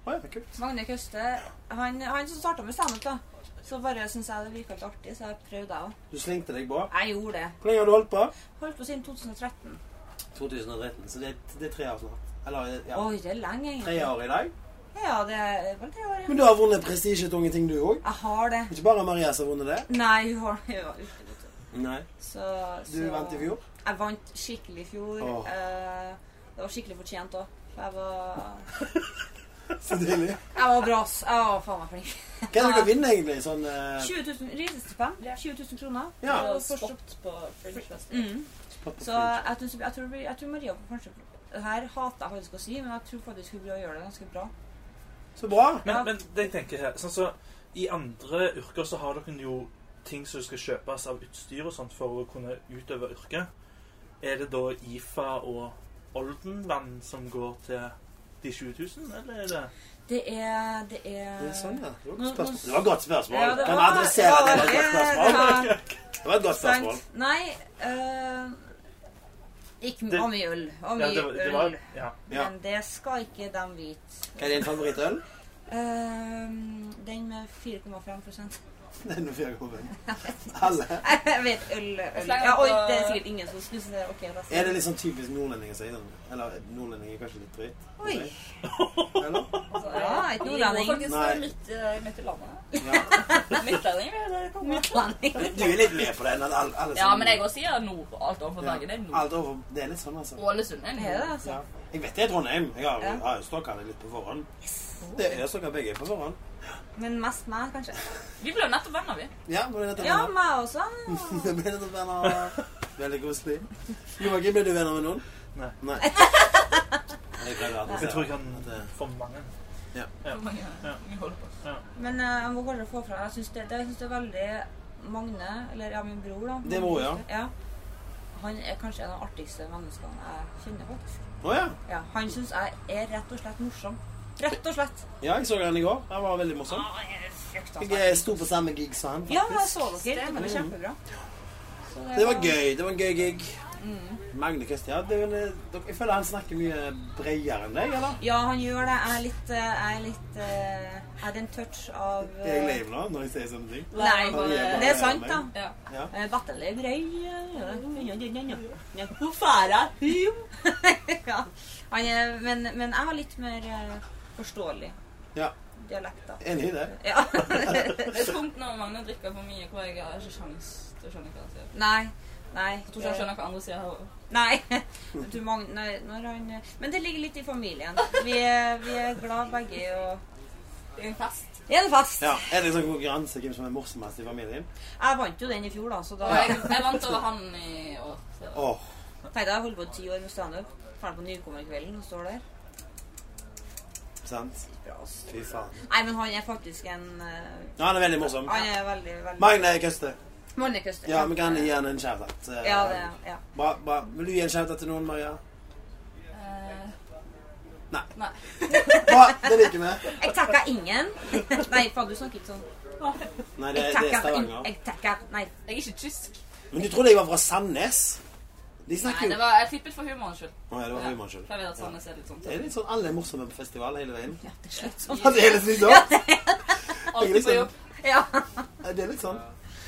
Speaker 2: Å ja, kult.
Speaker 8: Magne Køste, han, han som starta med standup, da. Så bare syns jeg det virka litt artig, så jeg prøvde, jeg òg.
Speaker 2: Du slengte deg på.
Speaker 8: Jeg gjorde det.
Speaker 2: Hvor lenge har du holdt på?
Speaker 8: Holdt på siden 2013.
Speaker 2: 2013, så det, er- det er tre år snart. Eller, ja.
Speaker 8: Oi, det er lenge,
Speaker 2: Tre
Speaker 8: egentlig.
Speaker 2: år i dag.
Speaker 8: Ja, det er vel tre år, ja.
Speaker 2: Men du har vunnet prestisjetunge ting, du òg.
Speaker 8: Jeg har det.
Speaker 2: Ikke bare Maria som har vunnet det.
Speaker 8: Nei, hun har hun var ute, vet du.
Speaker 2: Nei.
Speaker 8: Så,
Speaker 2: Du
Speaker 8: så-
Speaker 2: vant i fjor.
Speaker 8: Jeg vant skikkelig i fjor.
Speaker 2: Åh.
Speaker 8: Eh, det var skikkelig fortjent òg. Jeg var,
Speaker 2: Så deilig.
Speaker 8: jeg var bra, ass. Jeg var faen meg flink.
Speaker 2: Hva er det du kan vinne, egentlig? Sånn eh,
Speaker 8: 20 000 risestipend. 20 000 kroner.
Speaker 2: Ja.
Speaker 6: Og
Speaker 8: Første-
Speaker 6: spott på Fringe Fest.
Speaker 8: Mm.
Speaker 2: spot på
Speaker 8: Så
Speaker 2: fringe.
Speaker 8: jeg, tror- jeg, tror, det blir- jeg tror Maria får kanskje Det her hater jeg faktisk å si, men jeg tror faktisk hun blir å gjøre det ganske bra.
Speaker 2: Så bra.
Speaker 1: Men, men det jeg tenker her sånn så, I andre yrker så har dere jo ting som skal kjøpes av utstyr og sånt for å kunne utøve yrket. Er det da IFA og Oldenland som går til de 20 000, eller er det
Speaker 8: Det er Det er,
Speaker 2: Det er sånn, ja. Det var
Speaker 8: Nå-
Speaker 2: et godt spørsmål.
Speaker 8: nå-
Speaker 2: Det var et godt spørsmål.
Speaker 8: Ja, det
Speaker 2: kan vi
Speaker 8: var-
Speaker 2: adressere
Speaker 8: det
Speaker 2: det? Det
Speaker 8: var
Speaker 2: var et godt spørsmål.
Speaker 8: veldig-
Speaker 2: Det var et godt spørsmål.
Speaker 8: Sant. Nei eh, Ikke
Speaker 1: Det-
Speaker 8: om mye øl. Om
Speaker 1: Ja,
Speaker 8: mye
Speaker 1: det, var- det
Speaker 8: øl.
Speaker 1: var, ja.
Speaker 2: Ja.
Speaker 8: Men det skal ikke de vite.
Speaker 2: Hva er din favorittøl?
Speaker 8: Eh, den med 4,5
Speaker 2: Det er noe fire Alle.
Speaker 8: Jeg vet øl, øl.
Speaker 6: Sleng
Speaker 8: Ja,
Speaker 6: på-
Speaker 8: oi, det er sikkert ingen som synes det er ok. da.
Speaker 2: Er det litt sånn typisk nordlendinger å si sånn? Eller nordlendinger er kanskje litt dritt? å
Speaker 8: Oi.
Speaker 2: si? Eller?
Speaker 6: Altså,
Speaker 8: Ja,
Speaker 6: vi
Speaker 8: ikke noe
Speaker 6: bor
Speaker 8: landing.
Speaker 6: faktisk
Speaker 2: Nei.
Speaker 6: midt, eh, midt i landet.
Speaker 2: Ja.
Speaker 6: Midtlending, det er det det kommer.
Speaker 8: Utlanding.
Speaker 2: Du er litt med på den. at Alle, alle
Speaker 6: Ja,
Speaker 2: sånn-
Speaker 6: men jeg også sier nord. Alt overfor
Speaker 2: Ja.
Speaker 6: Bergen er nord.
Speaker 2: Alt over, det er litt sånn, altså.
Speaker 6: Ålesund er
Speaker 8: Er det
Speaker 6: nord.
Speaker 8: altså?
Speaker 2: Ja. Jeg vet det er Trondheim. Jeg har,
Speaker 8: Ja.
Speaker 2: jeg har jo stalka det litt på forhånd. Det er stalka begge på forhånd.
Speaker 8: Men mest meg, kanskje.
Speaker 6: Vi ble jo nettopp venner, vi.
Speaker 2: Ja, Mm. nå er dette
Speaker 8: Ja,
Speaker 2: venner.
Speaker 8: meg også.
Speaker 2: Det ble nettopp venner. Veldig koselig. Joakim, ble du venner med noen?
Speaker 1: Nei.
Speaker 2: Nei. Jeg prøver å
Speaker 1: Jeg tror jeg
Speaker 2: adressere at
Speaker 1: kan
Speaker 2: det-
Speaker 1: få mange.
Speaker 6: Hvor mange vi holder på.
Speaker 8: Men eh, jeg må kanskje få fra Jeg syns det, det, jeg synes det er veldig Magne, eller ja, min bror, da.
Speaker 2: Det er bror, ja.
Speaker 8: Han er kanskje en av de artigste menneskene jeg kjenner, faktisk.
Speaker 2: Å ja.
Speaker 8: Ja, han syns jeg er rett og slett morsom. Rett og slett.
Speaker 2: Ja, jeg så den i går. Den var veldig morsom. Jeg sto på samme gig som han.
Speaker 8: Ja, men jeg så dere. Det var kjempebra. Så
Speaker 2: Det var gøy. Det var en gøy gig. Magne Kristian, ja, det er vel- eh, dere- jeg føler han snakker mye bredere enn deg, eller?
Speaker 8: Ja, han gjør det. Jeg er litt eh, Jeg er litt eh, Jeg er en touch av
Speaker 2: Er jeg
Speaker 8: eh,
Speaker 2: lame nå når jeg sier sånne ting?
Speaker 8: Nei,
Speaker 2: Maria
Speaker 8: det er sant, da.
Speaker 2: Barnum.
Speaker 6: Ja.
Speaker 8: Eh, Battle Brei Hvorfor ja. Han er, men, men jeg har litt mer eh, forståelig
Speaker 2: Ja.
Speaker 8: dialekt, da.
Speaker 2: Enig i det.
Speaker 8: Ja.
Speaker 6: Det er tungt når Magne drikker for mye, hvor jeg har ikke sjans til å skjønne hva han sier.
Speaker 8: nei. Nei.
Speaker 6: Jeg tror ikke han skjønner hva andre sier her.
Speaker 2: Eh.
Speaker 8: Nei. Du, Magne, nei, når han, eh, men det ligger litt i familien. Vi er, vi er glad begge i å
Speaker 6: Det er en fest.
Speaker 8: Er det fast?
Speaker 2: Ja. Er det en sånn konkurranse hvem som er morsomst i familien?
Speaker 8: Jeg vant jo den i fjor, da, så da
Speaker 6: Og jeg, jeg vant over han i år. så-
Speaker 2: Åh,
Speaker 8: tenkte jeg jeg holder på ti år med standup. Ferdig på Nykommerkvelden og står der.
Speaker 2: sant?
Speaker 8: Bra, ass.
Speaker 2: Fy faen.
Speaker 8: Nei, men han er faktisk en eh,
Speaker 2: Ja, han er veldig morsom.
Speaker 8: Han er veldig, veldig
Speaker 2: Magne Køste.
Speaker 8: Mannekøster.
Speaker 2: Ja, vi kan gi han en shout-out. Eh,
Speaker 8: Ja, det er ja.
Speaker 2: Bra, bra. Vil du gi en shout-out til noen, Maria?
Speaker 6: Eh,
Speaker 2: Nei.
Speaker 6: Nei.
Speaker 2: Bra, det liker vi.
Speaker 8: Jeg takka ingen. Nei, faen, du snakker ikke sånn.
Speaker 2: Nei,
Speaker 8: Jeg
Speaker 2: det, det er
Speaker 8: takka ingen.
Speaker 2: Stavanger.
Speaker 8: Jeg takka Nei.
Speaker 6: Jeg er ikke tysk.
Speaker 2: Men du trodde jeg var fra Sandnes? De
Speaker 6: Nei,
Speaker 2: snakker
Speaker 6: det
Speaker 2: jo
Speaker 6: var, jeg tippet for humorens skyld.
Speaker 2: Å ja, det var
Speaker 6: Ja,
Speaker 2: humor,
Speaker 6: For jeg vet at
Speaker 2: Ja.
Speaker 6: Sandnes er litt sånn.
Speaker 2: Det er litt sånn alle er morsomme på festival hele veien.
Speaker 6: Ja,
Speaker 2: Det er litt sånn.
Speaker 6: Alltid
Speaker 2: liksom-
Speaker 6: på jobb.
Speaker 2: Det er litt sånn.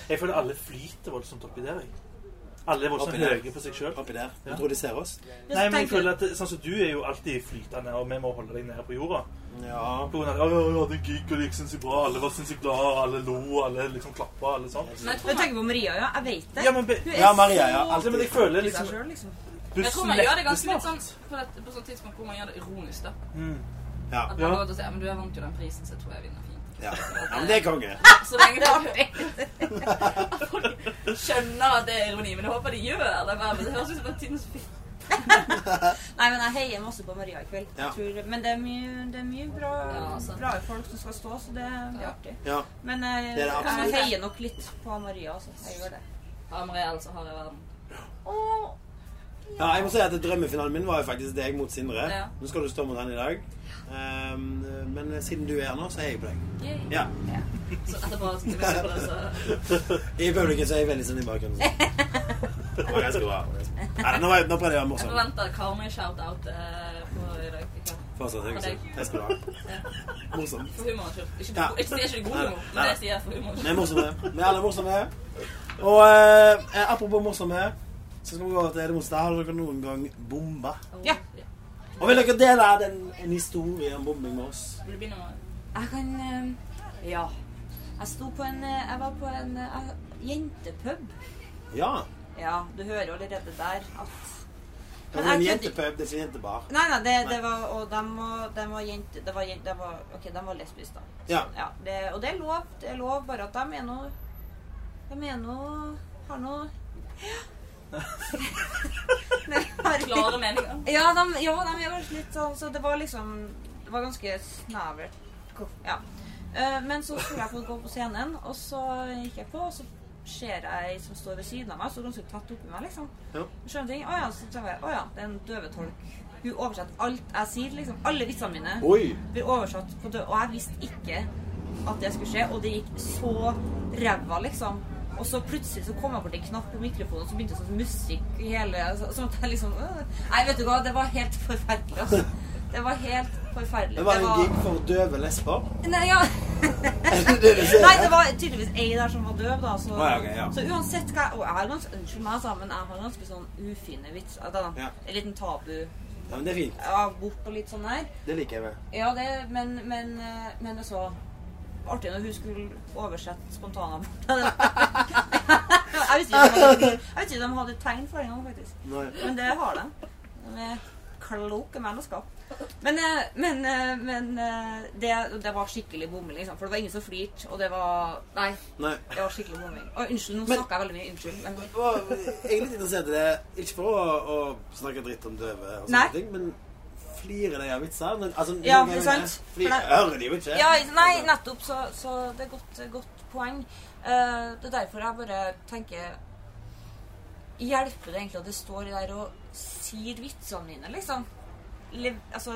Speaker 1: Jeg føler alle flyter voldsomt oppi der. Jeg. Alle er voldsomt
Speaker 2: Oppi der.
Speaker 1: høye på seg sjøl.
Speaker 2: Oppi der.
Speaker 1: Ja.
Speaker 2: De tror de ser oss.
Speaker 1: Nei, men jeg føler at det- sånn som Du er jo alltid flytende, og vi må holde deg nede på jorda.
Speaker 2: Ja.
Speaker 1: På grunn av at «Å, jeg hadde en gig, og det gikk sinnssykt bra. Alle var sinnssykt glad, alle lo, alle liksom klappa, alle sånn.
Speaker 6: Men jeg
Speaker 8: Jeg
Speaker 6: tror,
Speaker 8: tenker på Maria, ja. Jeg vet det.
Speaker 1: Ja, men be-
Speaker 8: Hun
Speaker 2: Ja, Maria, ja.
Speaker 8: så
Speaker 1: Altså, men jeg føler
Speaker 8: i seg
Speaker 1: liksom
Speaker 8: selv, liksom.
Speaker 6: jeg tror
Speaker 1: Bussen
Speaker 6: man gjør det
Speaker 1: letter
Speaker 6: ganske litt
Speaker 1: snart.
Speaker 6: sånn på et på sånn tidspunkt hvor man gjør det ironisk. da.
Speaker 1: Mm.
Speaker 2: Ja.
Speaker 6: At man
Speaker 1: Ja.
Speaker 6: går ut og sier ja, men du jeg vant jo den prisen, så jeg tror jeg vinner fint.
Speaker 2: ja. ja men det er konge.
Speaker 6: Så lenge folk skjønner at det er ironi, men jeg håper de gjør det. men Det høres ut som en tidens film.
Speaker 8: Nei, men jeg heier masse på Maria i kveld. Jeg
Speaker 2: Ja.
Speaker 8: Tror, men det er mye, det er mye bra,
Speaker 6: Ja, sant.
Speaker 8: bra folk som skal stå, så det blir
Speaker 6: Ja.
Speaker 8: artig.
Speaker 2: Ja.
Speaker 8: Men jeg,
Speaker 2: Det er det absolutt.
Speaker 8: jeg heier nok litt på Maria, altså. Jeg gjør det.
Speaker 6: Amriel så har jeg verden.
Speaker 2: Ja, jeg må si at Drømmefinalen min var jo faktisk deg mot Sindre.
Speaker 6: Ja.
Speaker 2: Nå skal du stå mot han i dag. Ehm, men siden du er her nå, så heier jeg på deg.
Speaker 6: Yay.
Speaker 2: Ja.
Speaker 6: Så etterpå skal vi se på det, så
Speaker 2: I publikum så er jeg veldig sånn i bakgrunnen. sånn. Det var ganske bra. Nei, nå, var jeg- nå prøvde jeg å være
Speaker 6: jeg
Speaker 2: morsom.
Speaker 6: forventer Karmøy-shout-out eh, på i dag. i kveld.
Speaker 2: Fortsatt høy, så jeg skal du ha. Morsom.
Speaker 6: For humorens skyld. Ikke,
Speaker 2: Ja.
Speaker 6: jeg sier ikke god humor, men det sier jeg for humorens
Speaker 2: Vi er
Speaker 6: skyld.
Speaker 2: morsomme. Vi er alle morsomme. Og eh, apropos morsomme, så skal vi gå til det motsatte. Har dere noen gang bomba?
Speaker 8: Ja.
Speaker 2: Og vil dere dele den, en historie om bombing med oss?
Speaker 6: Vil du begynne med
Speaker 8: Jeg kan eh, Ja. Jeg sto på en eh, Jeg var på en eh, jeg- jentepub.
Speaker 2: Ja.
Speaker 8: Ja, du hører jo allerede der at
Speaker 2: Det er en
Speaker 8: jeg kødder-
Speaker 2: jentepub, det er ikke en jentebar.
Speaker 8: Nei, nei, det, det var Og de var, dem var jenter Det var jent- dem var, OK, de var lesbiske, da.
Speaker 2: Ja.
Speaker 8: Ja, det, og det er lov. Det er lov, bare at de er noe De er noe Har noe Ja. De har-
Speaker 6: Klare meninger.
Speaker 8: Ja, de, ja, de er kanskje litt sånn Så det var liksom Det var ganske snavert. Ko- Ja. Eh, men så skulle jeg få gå på scenen, og så gikk jeg på, og så ser jeg ei som står ved siden av meg, så ganske tett oppi meg, liksom.
Speaker 2: Ja.
Speaker 8: Skjønner ting. Å ja, så tenker jeg, å ja, det er en døvetolk. Hun oversetter alt jeg sier, liksom. Alle vitsene mine
Speaker 2: Oi.
Speaker 8: blir oversatt på død, og jeg visste ikke at det skulle skje, og det gikk så ræva, liksom. Og så plutselig så kom jeg bort en knapp på mikrofonen, og så begynte sånn musikk i hele så- Sånn at jeg liksom øh. Nei, vet du hva, det var helt forferdelig, altså. Det var helt forferdelig.
Speaker 2: Det var en gig for døve lesber.
Speaker 8: Nei, ja.
Speaker 2: Er det det du ser?
Speaker 8: Nei, det var tydeligvis ei der som var døv, da. Så,
Speaker 2: Å, ja, ok, ja.
Speaker 8: så uansett hva Og jeg har ganske Unnskyld meg, altså, men jeg har ganske sånn ufine vits. Da.
Speaker 2: Ja.
Speaker 8: En liten tabu.
Speaker 2: Ja, men det er fint.
Speaker 8: Abort og litt sånn der.
Speaker 2: Det liker jeg med.
Speaker 8: Ja, det, men, men, eh, men det så artig når hun skulle oversette spontanabort. jeg visste ikke om de hadde- jeg visste ikke om de hadde tegn for det engang, faktisk.
Speaker 2: Nei.
Speaker 8: Men det har de. De er kloke mennesker. Men, eh, men, eh, men eh, det, det var skikkelig bomming, liksom. For det var ingen som flirte, og det var Nei,
Speaker 2: Nei.
Speaker 8: det var skikkelig bomming. Og unnskyld, nå
Speaker 2: Men-
Speaker 8: snakker jeg veldig mye. Unnskyld. Men,
Speaker 2: Og Jeg er litt interessert i det, ikke for å, å snakke dritt om døve, og
Speaker 8: Nei.
Speaker 2: sånne ting, men flirer de av vitser? Men, Altså,
Speaker 8: Ja,
Speaker 2: jeg
Speaker 8: det er
Speaker 2: mener,
Speaker 8: sant.
Speaker 2: Fordi
Speaker 8: For det-
Speaker 2: hører de jo ikke.
Speaker 8: Ja, altså- nei, nettopp, så, så det er godt, godt poeng. Eh, det er derfor jeg bare tenker Hjelper det egentlig at det står der og sier vitsene mine, liksom? Le, altså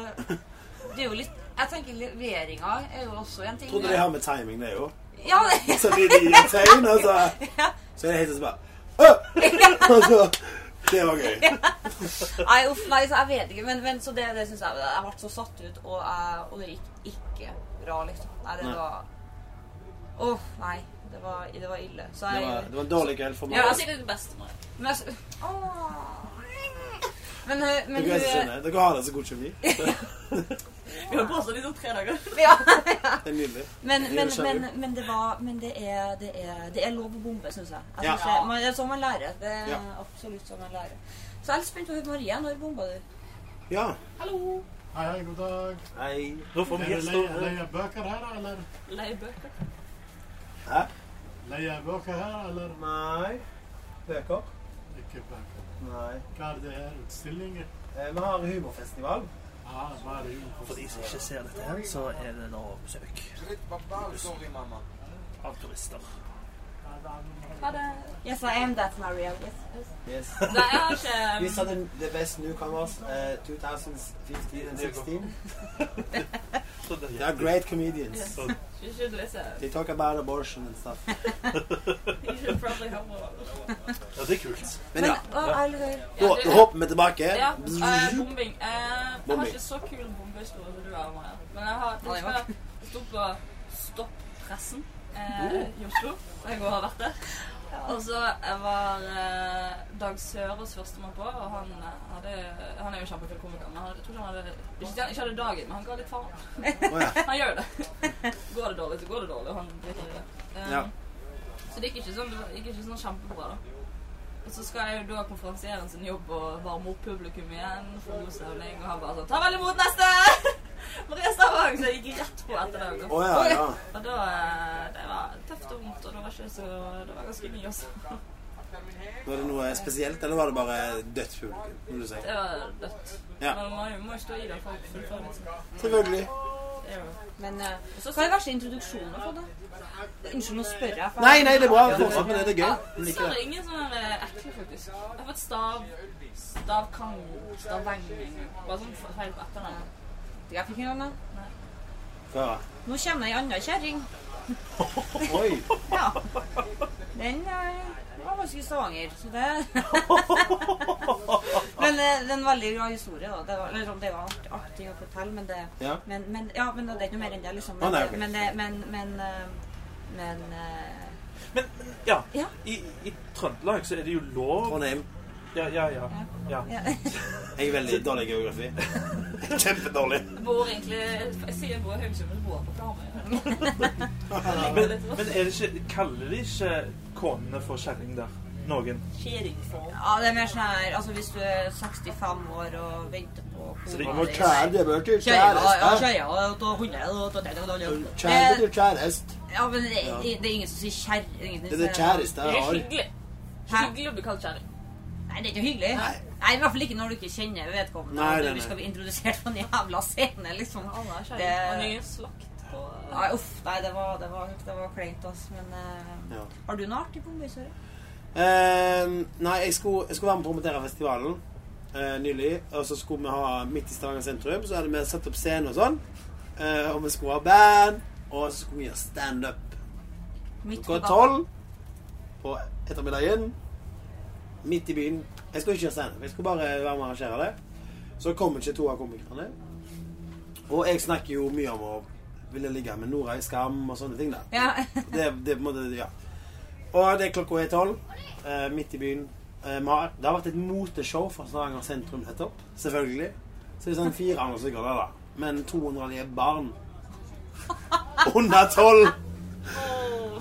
Speaker 8: Det er jo litt Jeg tenker leveringa er jo også en ting.
Speaker 2: Trodde de har med timing, det jo.
Speaker 8: Ja, det,
Speaker 2: Så blir de i tegn, og så,
Speaker 8: ja.
Speaker 2: så er det helt sånn bare «Åh!» Og så Det var gøy.
Speaker 8: Nei, uff, nei, så jeg vet ikke. Men, men så det, det syns jeg Jeg ble så satt ut, og, jeg, og det gikk ikke bra, liksom. Nei, det
Speaker 2: Nei.
Speaker 8: var Åh, nei. Det var, det var ille. Så
Speaker 2: Det
Speaker 8: jeg
Speaker 2: var, det var en dårlig kveld for meg.
Speaker 8: altså,
Speaker 6: Ja, si det til bestemor.
Speaker 8: Men jeg s- Åh. Men, hun- men
Speaker 2: Dere, er så
Speaker 8: hun
Speaker 2: skjønne. Dere har det så god kjemi. Det
Speaker 6: Vi har påstått det i sånn tre dager.
Speaker 8: ja.
Speaker 2: er nydelig.
Speaker 8: men,
Speaker 2: Det
Speaker 8: men,
Speaker 2: skjønner
Speaker 8: men, men det var Men det er, det er, det er lov å bombe, syns jeg. jeg
Speaker 2: Ja.
Speaker 8: synes det, man, det er sånn man lærer. Det er
Speaker 2: Ja.
Speaker 8: absolutt sånn man lærer. Så jeg er litt spent på hun Marie. Når bomba du?
Speaker 2: Ja.
Speaker 6: Hallo!
Speaker 9: Hei, hei, god dag.
Speaker 2: Nei.
Speaker 1: Nå får vi
Speaker 9: Er det leie,
Speaker 1: gjester.
Speaker 9: leie bøker her, eller?
Speaker 6: Leie bøker.
Speaker 9: Leie bøker her, eller?
Speaker 2: Nei. Bøker?
Speaker 9: Ikke bøker.
Speaker 2: Nei.
Speaker 9: Hva er det her? Utstillinger?
Speaker 2: Eh, Vi har humorfestival.
Speaker 9: Ja, hva er det?
Speaker 1: For de som ikke ser dette her, så er det nå besøk av turister.
Speaker 6: Ha det.
Speaker 8: Yes, I am that Maria. Yes.
Speaker 2: Yes.
Speaker 6: Nei, jeg har ikke
Speaker 2: You said the, the best newcomers uh, 2015 and 16.
Speaker 1: Så det-
Speaker 2: They are great comedians.
Speaker 1: Så-
Speaker 6: You should listen.
Speaker 2: They talk about abortion and stuff.
Speaker 6: You should probably aldri herover.
Speaker 1: Ja, det er kult.
Speaker 2: Men ja,
Speaker 8: Å, jeg lurer.
Speaker 2: nå,
Speaker 6: Ja, det-
Speaker 2: nå hopper vi tilbake.
Speaker 6: Ja, eh, bombing. Eh, jeg har
Speaker 2: Bombing.
Speaker 6: ikke så kul bombehistorie som du har, Maja. Men jeg har
Speaker 8: Nei,
Speaker 6: jeg sto på Stopp pressen eh, i Oslo. og Jeg har vært der. Og så jeg var eh, Dag Sørås førstemann på, og han eh, hadde Han er jo kjempekul komiker, men han, jeg tror ikke han hadde ikke, ikke hadde dagen, men han ga litt faen. Han gjør jo det. Går det dårlig, så går det dårlig, og han driter i det. Eh,
Speaker 2: Ja.
Speaker 6: Så det gikk ikke sånn, det var- gikk ikke sånn kjempebra, da. Og så skal jeg jo da konferansieren sin jobb og varme opp publikum igjen. For god stemning. Og han bare sånn Ta vel imot neste! Maria Stavang! Så jeg gikk rett på etter det. altså.
Speaker 2: Å ja, ja.
Speaker 6: Og da eh, Det var tøft og vondt, og det var ikke så Det var ganske mye altså. også.
Speaker 2: Var det noe spesielt, eller var det bare dødt publikum? Må du si.
Speaker 6: Det var dødt.
Speaker 2: Ja.
Speaker 6: Men man må jo stå i det for å fullføre litt.
Speaker 2: Selvfølgelig.
Speaker 6: Det er jo
Speaker 8: Men eh, hva er den verste introduksjonen du har fått, da? Unnskyld, nå spør jeg. for-
Speaker 2: Nei, nei, det er bra. Fortsett med det. Det er
Speaker 6: Ja,
Speaker 2: gøy. Jeg
Speaker 6: så
Speaker 2: liker
Speaker 6: er
Speaker 2: det.
Speaker 6: det ingen sånne eh, ekle, faktisk. Jeg har fått stav... Stavkang... Staveng... Bare sånn feil på etternavn.
Speaker 8: Jeg fikk en annen.
Speaker 2: Hva?
Speaker 8: Nå kommer ei anna kjerring.
Speaker 2: Oi.
Speaker 8: Ja. Den eh, var faktisk i Stavanger, så det Men eh, det er en veldig bra historie, da. Det var, eller sånn, det var art- artig å fortelle, men det
Speaker 2: Ja.
Speaker 8: Men, men, ja, men det er ikke noe mer enn det, liksom.
Speaker 2: Å,
Speaker 8: Men,
Speaker 2: nei, ok.
Speaker 8: men, det- men, men, eh, men eh,
Speaker 1: Men, men ja,
Speaker 8: Ja.
Speaker 1: I, i Trøndelag så er det jo lov
Speaker 2: Trondheim.
Speaker 1: Ja, ja, ja. ja.
Speaker 8: ja.
Speaker 2: Jeg er veldig dårlig i geografi. Kjempedårlig.
Speaker 6: Bor egentlig Jeg sier bor i Haugesund, men bor på Karmøy.
Speaker 1: Men, men er det ikke, kaller de ikke konene for kjerring der? Noen?
Speaker 6: Kjerringfolk.
Speaker 8: ja, det er mer sånn her Altså hvis du er 65 år og venter på
Speaker 1: Så det-
Speaker 8: kona di-
Speaker 2: det bør til
Speaker 8: Kjære, ja, kjære, og ta hundre, og ta det, og ta det, og ta det. Det-
Speaker 2: kjæreste.
Speaker 8: Ja, men det, det, det er ingen som sier kjære. det er ingen som
Speaker 2: Det er det
Speaker 8: sier-
Speaker 2: kjæreste
Speaker 6: Det
Speaker 2: jeg
Speaker 6: er
Speaker 2: har.
Speaker 6: hyggelig.
Speaker 8: Hæ?
Speaker 6: Hyggelig å bli kalt kjerring.
Speaker 8: Nei, det er ikke hyggelig. Nei. i hvert fall ikke når du ikke kjenner vedkommende.
Speaker 2: Nei,
Speaker 8: og
Speaker 2: nei,
Speaker 8: du
Speaker 2: nei.
Speaker 8: skal bli introdusert på en jævla scene, liksom.
Speaker 6: Alle er
Speaker 8: Det-
Speaker 6: kjerring. Og nye slakt på
Speaker 8: Nei, uff, nei, det var, det var, det var kleint, ass. Men eh,
Speaker 2: Ja.
Speaker 8: har du noe artig bombøysøre?
Speaker 2: Eh, nei, jeg skulle, jeg skulle være med å promotere festivalen eh, nylig. Og så skulle vi ha midt i Stavanger sentrum. Så hadde vi satt opp scene og sånn. Eh, og vi skulle ha band. Og så skulle vi gjøre standup
Speaker 8: Midt på
Speaker 2: klokka
Speaker 8: dagen.
Speaker 2: tolv på ettermiddagen. Midt i byen. Jeg skulle ikke gjøre standup. Jeg skulle bare være med og arrangere det. Så kom ikke to av komikerne. Og jeg snakker jo mye om å ville ligge med Nora i Skam og sånne ting. da
Speaker 8: Ja.
Speaker 2: det, det er på en måte, ja. Og det er klokka er tolv, eh, midt i byen. Eh, vi har- det har vært et moteshow fra Stavanger sentrum nettopp, selvfølgelig. Så det er sånn 400 stykker der, da. Men 200 av de er barn. Under tolv!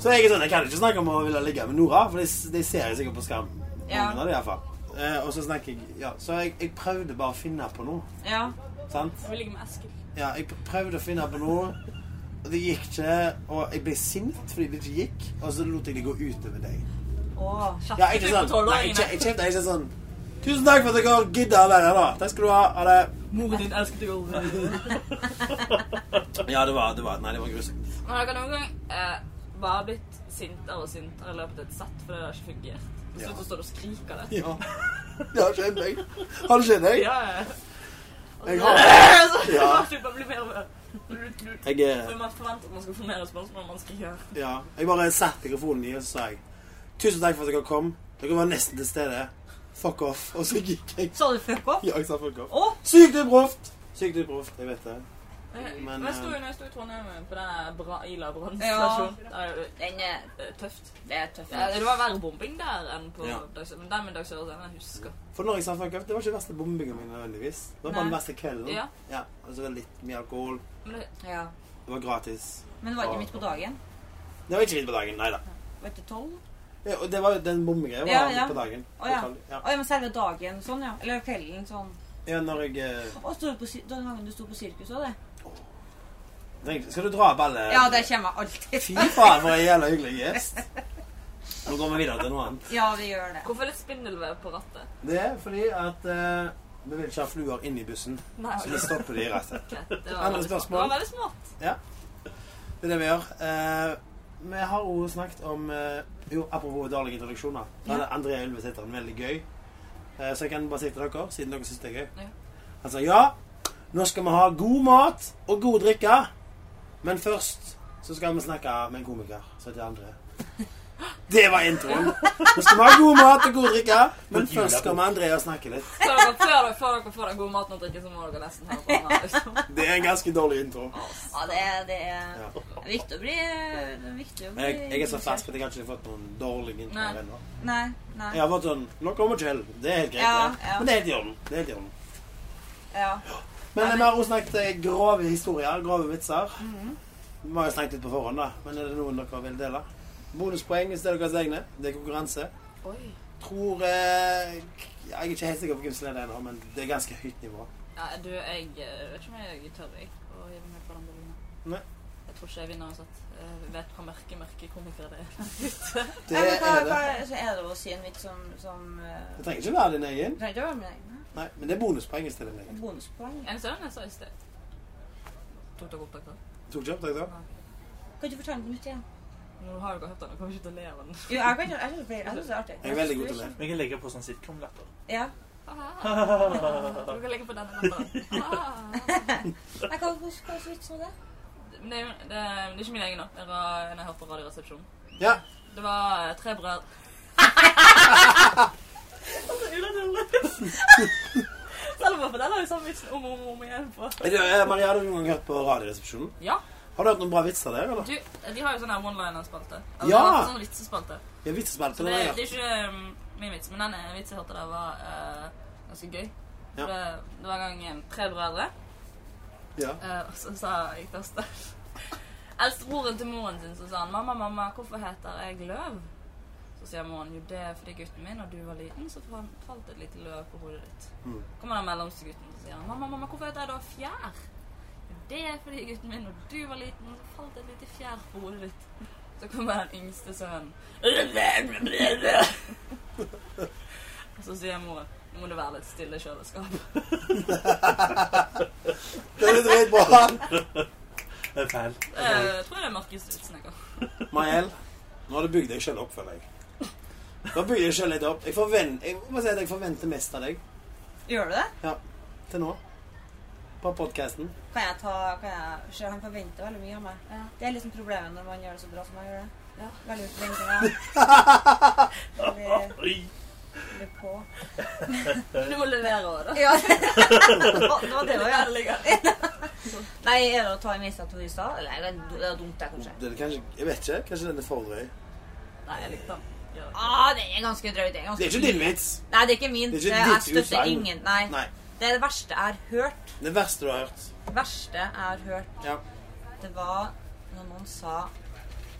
Speaker 2: Så jeg er sånn, jeg kan ikke snakke om å ville ligge med Nora, for de, de ser jeg sikkert på skam.
Speaker 8: Ja.
Speaker 2: Noen av de, i hvert fall. Eh, og så snakker jeg Ja, så jeg, jeg prøvde bare å finne på noe.
Speaker 8: ja.
Speaker 2: Sant?
Speaker 6: Jeg vil ligge med Eskil.
Speaker 2: Ja, jeg prøvde å finne på noe. og Det gikk ikke, og jeg ble sint fordi det ikke gikk. Og så lot jeg det gå utover deg.
Speaker 8: Åh.
Speaker 2: Ja, ikke sånn.
Speaker 6: Kjefting på
Speaker 2: Nei, ikke,
Speaker 6: tolvåringene.
Speaker 2: ikke, ikke, ikke sånn. Tusen takk for at dere gidda å være her, da. Takk skal du ha. Ha det.
Speaker 6: Moren din elsket deg aldri.
Speaker 2: Ja, det var, det var Nei, det var grusomt.
Speaker 6: Men jeg har noen gang eh, bare blitt sintere og sintere i løpet av et sett fordi det har ikke fungert. Til slutt så står du og skriker det.
Speaker 2: Ja. Det har skjedd meg. Har det skjedd deg?
Speaker 6: Ja, ja.
Speaker 2: Jeg har
Speaker 6: Så
Speaker 2: Ja.
Speaker 6: du bare blir mer og mer du- du-
Speaker 2: jeg, eh,
Speaker 6: Men Man forventer at man skal få mer respons når man skriker.
Speaker 2: ja. jeg bare satte mikrofonen i, og så sa jeg Tusen takk for at dere kom. Dere var nesten til stede. Fuck off. Og så gikk jeg.
Speaker 8: Sa du fuck off?
Speaker 2: Ja, jeg sa fuck off.
Speaker 8: Åh.
Speaker 2: Sykt uproft. Sykt uproft. Jeg vet det. Men,
Speaker 6: Men jeg sto jo
Speaker 2: eh,
Speaker 6: når jeg sto i Trondheim på den bra, Ila
Speaker 8: Ja.
Speaker 6: brannstasjonen. Det er jo
Speaker 8: Den er,
Speaker 6: eh, tøft.
Speaker 8: det er tøff.
Speaker 6: Ja, det var verre bombing der enn på
Speaker 2: Ja.
Speaker 6: Dag Sørås. Men den med Dag Sørås er den jeg husker.
Speaker 2: For når jeg sa fuck up, det var ikke den verste bombingen min nødvendigvis. Det var bare den
Speaker 8: Nei.
Speaker 2: verste kvelden.
Speaker 6: Ja.
Speaker 2: og så var det litt mye alkohol.
Speaker 6: Men det,
Speaker 8: Ja.
Speaker 2: Det var gratis.
Speaker 8: Men det var ikke midt på dagen.
Speaker 2: Det var ikke midt på dagen, nei da.
Speaker 8: Vet du, tolv?
Speaker 2: Ja, og det var jo den bombingen var
Speaker 8: Ja, ja.
Speaker 2: midt på dagen.
Speaker 8: Å, ja.
Speaker 2: ja.
Speaker 8: Åh, ja, men selve dagen sånn, ja. Eller kvelden sånn.
Speaker 2: ja, når jeg eh,
Speaker 8: Åh, stod du på, sir- den gangen du sto på sirkuset og det?
Speaker 2: tenkte, Skal du dra opp alle
Speaker 8: Ja, det kommer jeg alltid.
Speaker 2: Fy faen, for en jævla hyggelig gjest. Nå går vi videre til noe annet.
Speaker 8: Ja, vi gjør det.
Speaker 6: hvorfor er det spindelvev på rattet?
Speaker 2: Det er fordi at eh, vi vil ikke ha fluer inn i bussen,
Speaker 6: Nei,
Speaker 2: så vi stopper de i rattet.
Speaker 6: ok, det var
Speaker 2: Andre
Speaker 6: veldig smart.
Speaker 2: spørsmål?
Speaker 6: Det var veldig smart.
Speaker 2: Det er det vi gjør. Eh, vi har også snakket om eh, Jo, apropos dårlige introduksjoner. Da hadde André Ylves heter han veldig gøy. Eh, så jeg kan bare si til dere, siden dere syns det er gøy
Speaker 6: Ja.
Speaker 2: Han sa ja, nå skal vi ha god mat og god drikke, men først så skal vi snakke med en komiker som heter André. Det var introen. Nå skal vi ha god mat og god drikke, men først skal vi Andrea snakke litt.
Speaker 6: Så dere, før, dere, før dere får den gode maten og drikken, så må dere nesten høre på den her. Liksom.
Speaker 2: Det er en ganske dårlig intro.
Speaker 8: Ja, det, er- det er viktig å bli det er viktig å bli
Speaker 2: Jeg, jeg er så fersk at jeg har ikke fått noen dårlige introer
Speaker 6: Nei.
Speaker 2: ennå.
Speaker 8: Nei. nei.
Speaker 2: Jeg har fått sånn Nå kommer Kjell. Det er helt greit.
Speaker 8: Ja,
Speaker 2: det.
Speaker 8: ja.
Speaker 2: Men det er helt i orden. Det er helt i orden.
Speaker 8: Ja.
Speaker 2: Men vi har også snakket eh, grove historier, grove vitser. Vi har jo snakket litt på forhånd, da. Men er det noen dere vil dele? Bonuspoeng hvis det er deres egne. Det er konkurranse.
Speaker 6: Oi.
Speaker 2: Tror eh, Jeg er ikke helt sikker på hvem som leder ennå, men det er ganske høyt nivå.
Speaker 6: Ja, du, jeg eh, vet ikke om jeg tør jeg, å hive meg på den ballongen.
Speaker 2: Nei.
Speaker 6: Jeg tror ikke jeg vinner uansett. Jeg vet hva mørke, mørke komikere det er.
Speaker 2: Det
Speaker 8: Nei, men hva,
Speaker 2: er
Speaker 8: hva,
Speaker 2: det.
Speaker 8: så er det å si en vits som, som eh,
Speaker 2: Det trenger ikke være din egen.
Speaker 8: Det trenger ikke å være min egen.
Speaker 2: Nei, men det er bonuspoeng hvis det er din egen.
Speaker 8: Bonuspoeng.
Speaker 6: En sønn jeg sa i sted. Tok dere opptak da?
Speaker 2: Tok ikke opptak, da?
Speaker 8: Kan du fortelle den ut igjen?
Speaker 6: Nå har dere hørt den, dere kommer ikke til å le av den.
Speaker 8: Jo, jeg kan jeg synes det jeg synes det er artig.
Speaker 2: Jeg er veldig god til det.
Speaker 1: Vi kan legge på sånn sitcom-latter.
Speaker 8: Ja.
Speaker 6: Dere kan legge på denne latteren.
Speaker 8: Nei, hva hva- hva slags vits var det?
Speaker 6: Men det, er jo- det, er- det er ikke min egen nå. Det var en jeg hørte på radioresepsjonen.
Speaker 2: Ja.
Speaker 6: Det var eh, tre brødre. Selv om på den har jo samme vitsen om og om, og om igjen på.
Speaker 2: Er det- eh, Maria, har du noen gang hørt på Radioresepsjonen?
Speaker 6: Ja.
Speaker 2: Har du hørt noen bra vitser der, eller?
Speaker 6: Du, de har jo sånn her one-liner-spalte. Altså,
Speaker 2: Ja!
Speaker 6: de har Sånn vitsespalte.
Speaker 2: Ja, vitsespill
Speaker 6: Så
Speaker 2: til
Speaker 6: det,
Speaker 2: deg.
Speaker 6: det er ikke um, min vits, men den eh, vitsen jeg hørte der, var eh, ganske gøy.
Speaker 2: Ja.
Speaker 6: For Det, det var en gang eh, tre brødre,
Speaker 2: Ja.
Speaker 6: eh, og så sa jeg første Eldstebroren til moren sin så sa han 'Mamma, mamma, hvorfor heter jeg løv?' Så sier moren 'Jo, det er fordi gutten min, da du var liten, så fa- falt et lite løv på hodet ditt'.
Speaker 2: Mm.
Speaker 6: Kommer den mellomste gutten, så sier han 'Mamma, mamma, hvorfor heter jeg da fjær?' «Jo, Det er fordi gutten min, når du var liten, så falt et lite fjær på hodet ditt. Så kommer den yngste sønnen. Og så sier moren nå må du være litt stille i kjøleskapet.
Speaker 2: Det er litt dritbra.
Speaker 3: Det er feil.
Speaker 6: Eh, Jeg tror det er mørkeste vitsen jeg har.
Speaker 2: Mariel, nå har du bygd deg selv opp, føler jeg. Du har bygd deg selv litt opp. Jeg forventer, jeg, må si at jeg forventer mest av deg
Speaker 8: Gjør du det?
Speaker 2: til nå. På podcasten.
Speaker 8: Kan jeg ta kan jeg, se, Han forventer veldig mye av meg.
Speaker 6: Ja.
Speaker 8: Det er liksom problemet når man gjør det så bra som jeg gjør det.
Speaker 6: Ja.
Speaker 8: Veldig mye forventninger. Veldig-
Speaker 1: Oi.
Speaker 8: veldig på.
Speaker 6: Du må levere òg, da.
Speaker 8: Ja. det var det òg, ja.
Speaker 6: Der ligger den.
Speaker 8: Nei, er det å ta en initiativ i stad? Eller er det- det er dumt, det, kanskje.
Speaker 2: Det er kanskje, jeg vet ikke. Kanskje den er for drøy.
Speaker 6: Nei, jeg likte den. Ja.
Speaker 8: Ah, det er ganske drøyt. Det er ganske
Speaker 2: Det er ikke din vits.
Speaker 8: Nei, det er ikke min.
Speaker 2: Det er ikke
Speaker 8: jeg
Speaker 2: ditt
Speaker 8: støtter
Speaker 2: utsagn.
Speaker 8: ingen. Nei.
Speaker 2: Nei.
Speaker 8: Det er det verste jeg har hørt.
Speaker 2: Det verste du har hørt.
Speaker 8: Det verste jeg har hørt,
Speaker 2: Ja.
Speaker 8: det var når noen sa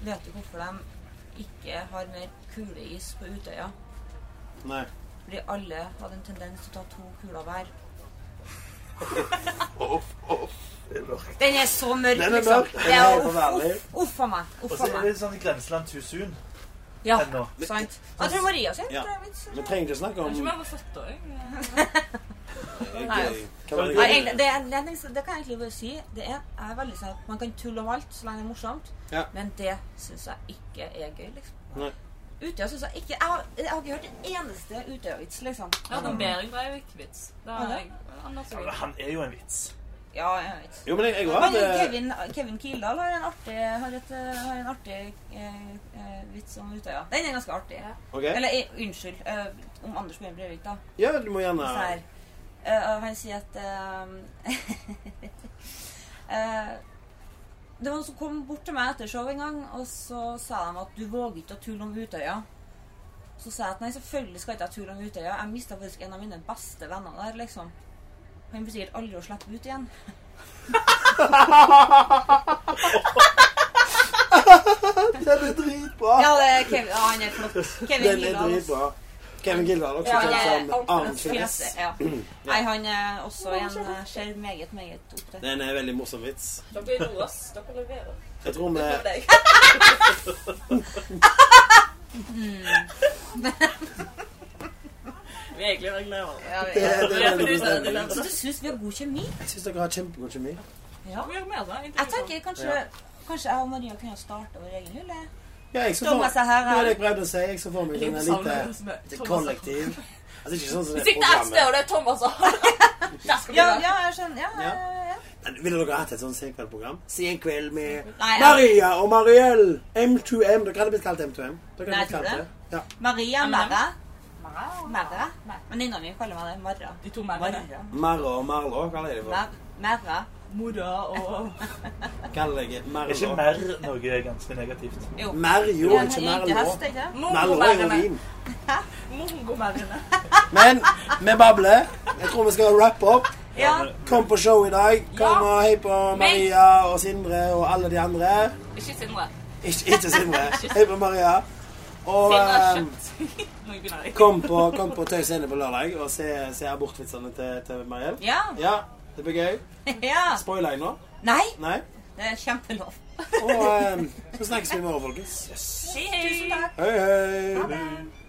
Speaker 8: Vet du hvorfor de ikke har mer kuleis på Utøya?
Speaker 2: Nei.
Speaker 8: Fordi alle hadde en tendens til å ta to kuler hver. Den er så mørk,
Speaker 2: Den er
Speaker 8: liksom.
Speaker 2: mørk.
Speaker 8: Det
Speaker 2: Den
Speaker 8: er
Speaker 2: er
Speaker 8: uff,
Speaker 2: forferdelig.
Speaker 8: uff, uff a meg.
Speaker 1: Og
Speaker 8: Uff
Speaker 1: så
Speaker 8: a
Speaker 1: er
Speaker 8: meg.
Speaker 1: det sånn i grenseland too soon
Speaker 8: Ja,
Speaker 1: ennå.
Speaker 8: sant. Og jeg tror Maria sin.
Speaker 2: Ja.
Speaker 8: tror jeg er vits,
Speaker 2: Vi
Speaker 8: eller?
Speaker 2: trenger ikke snakke
Speaker 6: Kanskje
Speaker 2: om
Speaker 6: vi var født da, jeg.
Speaker 2: gøy. Hva var det
Speaker 8: Nei,
Speaker 2: gøy?
Speaker 8: egentlig, det, er- det, er nesten- det kan jeg egentlig bare si. Det er, jeg er veldig sånn at Man kan tulle om alt så lenge det er morsomt,
Speaker 2: Ja.
Speaker 8: men det syns jeg ikke er gøy. liksom.
Speaker 2: Nei.
Speaker 8: Utøya syns jeg ikke Jeg har, jeg har ikke hørt en eneste Utøya-vits, liksom.
Speaker 6: Jeg hørte en Behring Breivik-vits. Det har
Speaker 8: Ja,
Speaker 6: jeg. Anders
Speaker 1: Ja,
Speaker 6: og
Speaker 1: men Han er jo en vits.
Speaker 8: Ja, jeg vet.
Speaker 2: Jo, men jeg, jeg har
Speaker 8: Men
Speaker 2: hatt eh,
Speaker 8: Kevin, Kevin Kildahl har en artig, har et, eh, har en artig eh, eh, vits om Utøya. Den er ganske artig.
Speaker 2: Ok.
Speaker 8: Eller eh, unnskyld, eh, om Anders Behring Breivik, da.
Speaker 2: Ja, du må gjerne
Speaker 8: Så Sånn her. Eh, og han sier at eh, eh, Det var noen som kom bort til meg etter show en gang, og så sa de at du våger ikke å tulle om Utøya. Så sa jeg at nei, selvfølgelig skal ikke jeg tulle om Utøya. Jeg mista faktisk en av mine beste venner der, liksom. Han blir sikkert aldri å slippe ut igjen.
Speaker 2: Den er dritbra.
Speaker 8: Ja, det er Kevin, ja han er flott. Kevin
Speaker 2: Ah. Den er dritbra. Ah, Kevin Gildahl,
Speaker 8: Gildahl. altså.
Speaker 2: også
Speaker 8: Ja, han
Speaker 2: kjent
Speaker 8: er
Speaker 2: som Arnt
Speaker 8: ordentlig
Speaker 2: Fjes.
Speaker 8: fjes, ja. Nei, han er også en eh, ser meget, meget opp til.
Speaker 2: Den er en veldig morsom vits.
Speaker 6: Dere er noe, ass. Dere leverer.
Speaker 2: Jeg tror vi
Speaker 6: Deg. Vi er egentlig regulære.
Speaker 8: Ja, vi-
Speaker 2: Det er- det
Speaker 6: Vi
Speaker 2: er
Speaker 6: er
Speaker 2: veldig
Speaker 6: produsere
Speaker 2: morsom.
Speaker 6: til
Speaker 8: Så
Speaker 6: det.
Speaker 8: du syns vi har god kjemi?
Speaker 2: Jeg syns dere har kjempegod kjemi.
Speaker 8: Ja.
Speaker 6: Vi er med, da.
Speaker 8: Jeg tenker kanskje, kanskje jeg og Maria kunne starte vår egen hylle.
Speaker 2: Ja, jeg så
Speaker 8: Stå
Speaker 2: for-
Speaker 8: med seg her,
Speaker 2: Ja,
Speaker 8: her.
Speaker 2: det jeg prøvde å si. Jeg så for meg sånn en lite kollektiv. Altså, ikke sånn som det
Speaker 6: Sikt ett sted, og
Speaker 2: programmet.
Speaker 6: det er Thomas og Der skal vi
Speaker 8: Ja,
Speaker 6: være.
Speaker 8: ja, jeg skjønner. Ja,
Speaker 2: Ja.
Speaker 8: ja. ja.
Speaker 2: Men Ville dere hatt et sånt senkveldprogram? Se en kveld med
Speaker 8: Nei, jeg-
Speaker 2: Maria og Mariell! M2M. Dere hadde blitt kalt M2M. Dere
Speaker 8: Nei,
Speaker 2: hadde blitt
Speaker 8: tror
Speaker 2: kalt
Speaker 8: du
Speaker 2: det. Ja.
Speaker 8: Maria
Speaker 6: Anna.
Speaker 8: Merra.
Speaker 6: Merra?
Speaker 8: Merra. Venninna mi kaller meg det. Marra.
Speaker 6: De to mennene.
Speaker 8: Marra.
Speaker 2: Marra og Marlå kaller jeg det for.
Speaker 8: Mer- Merra.
Speaker 6: Mora og
Speaker 2: Kaller jeg
Speaker 3: Er ikke
Speaker 2: Marlå.
Speaker 3: mer noe ganske negativt?
Speaker 8: Jo.
Speaker 2: Merjo,
Speaker 8: Ja,
Speaker 2: ikke
Speaker 8: men egentlig
Speaker 2: Merlå.
Speaker 8: hest, ikke?
Speaker 2: Merlå er jo
Speaker 6: Mongomærene.
Speaker 2: vin.
Speaker 6: Mongomærene.
Speaker 2: Men vi babler. Jeg tror vi skal wrap opp.
Speaker 8: Ja.
Speaker 2: Kom på show i dag. Kom
Speaker 6: Ja.
Speaker 2: og hei på Maria og Sindre og alle de andre.
Speaker 6: Ikke Sindre.
Speaker 2: Ikke, ikke Sindre. Hei på Maria. Og
Speaker 6: Sindre har
Speaker 2: eh,
Speaker 6: kjøpt. Nå begynner jeg.
Speaker 2: kom på, kom på Tøy Scene på lørdag og se, se abortvitsene til, til Mariell.
Speaker 8: Ja.
Speaker 2: Ja, det blir gøy.
Speaker 8: ja.
Speaker 2: Spoiler jeg nå?
Speaker 8: Nei,
Speaker 2: Nei? ehm,
Speaker 8: det er kjempelov.
Speaker 2: Og eh, så snakkes vi i morgen, folkens.
Speaker 6: Hei, hei.
Speaker 2: Hei, hei.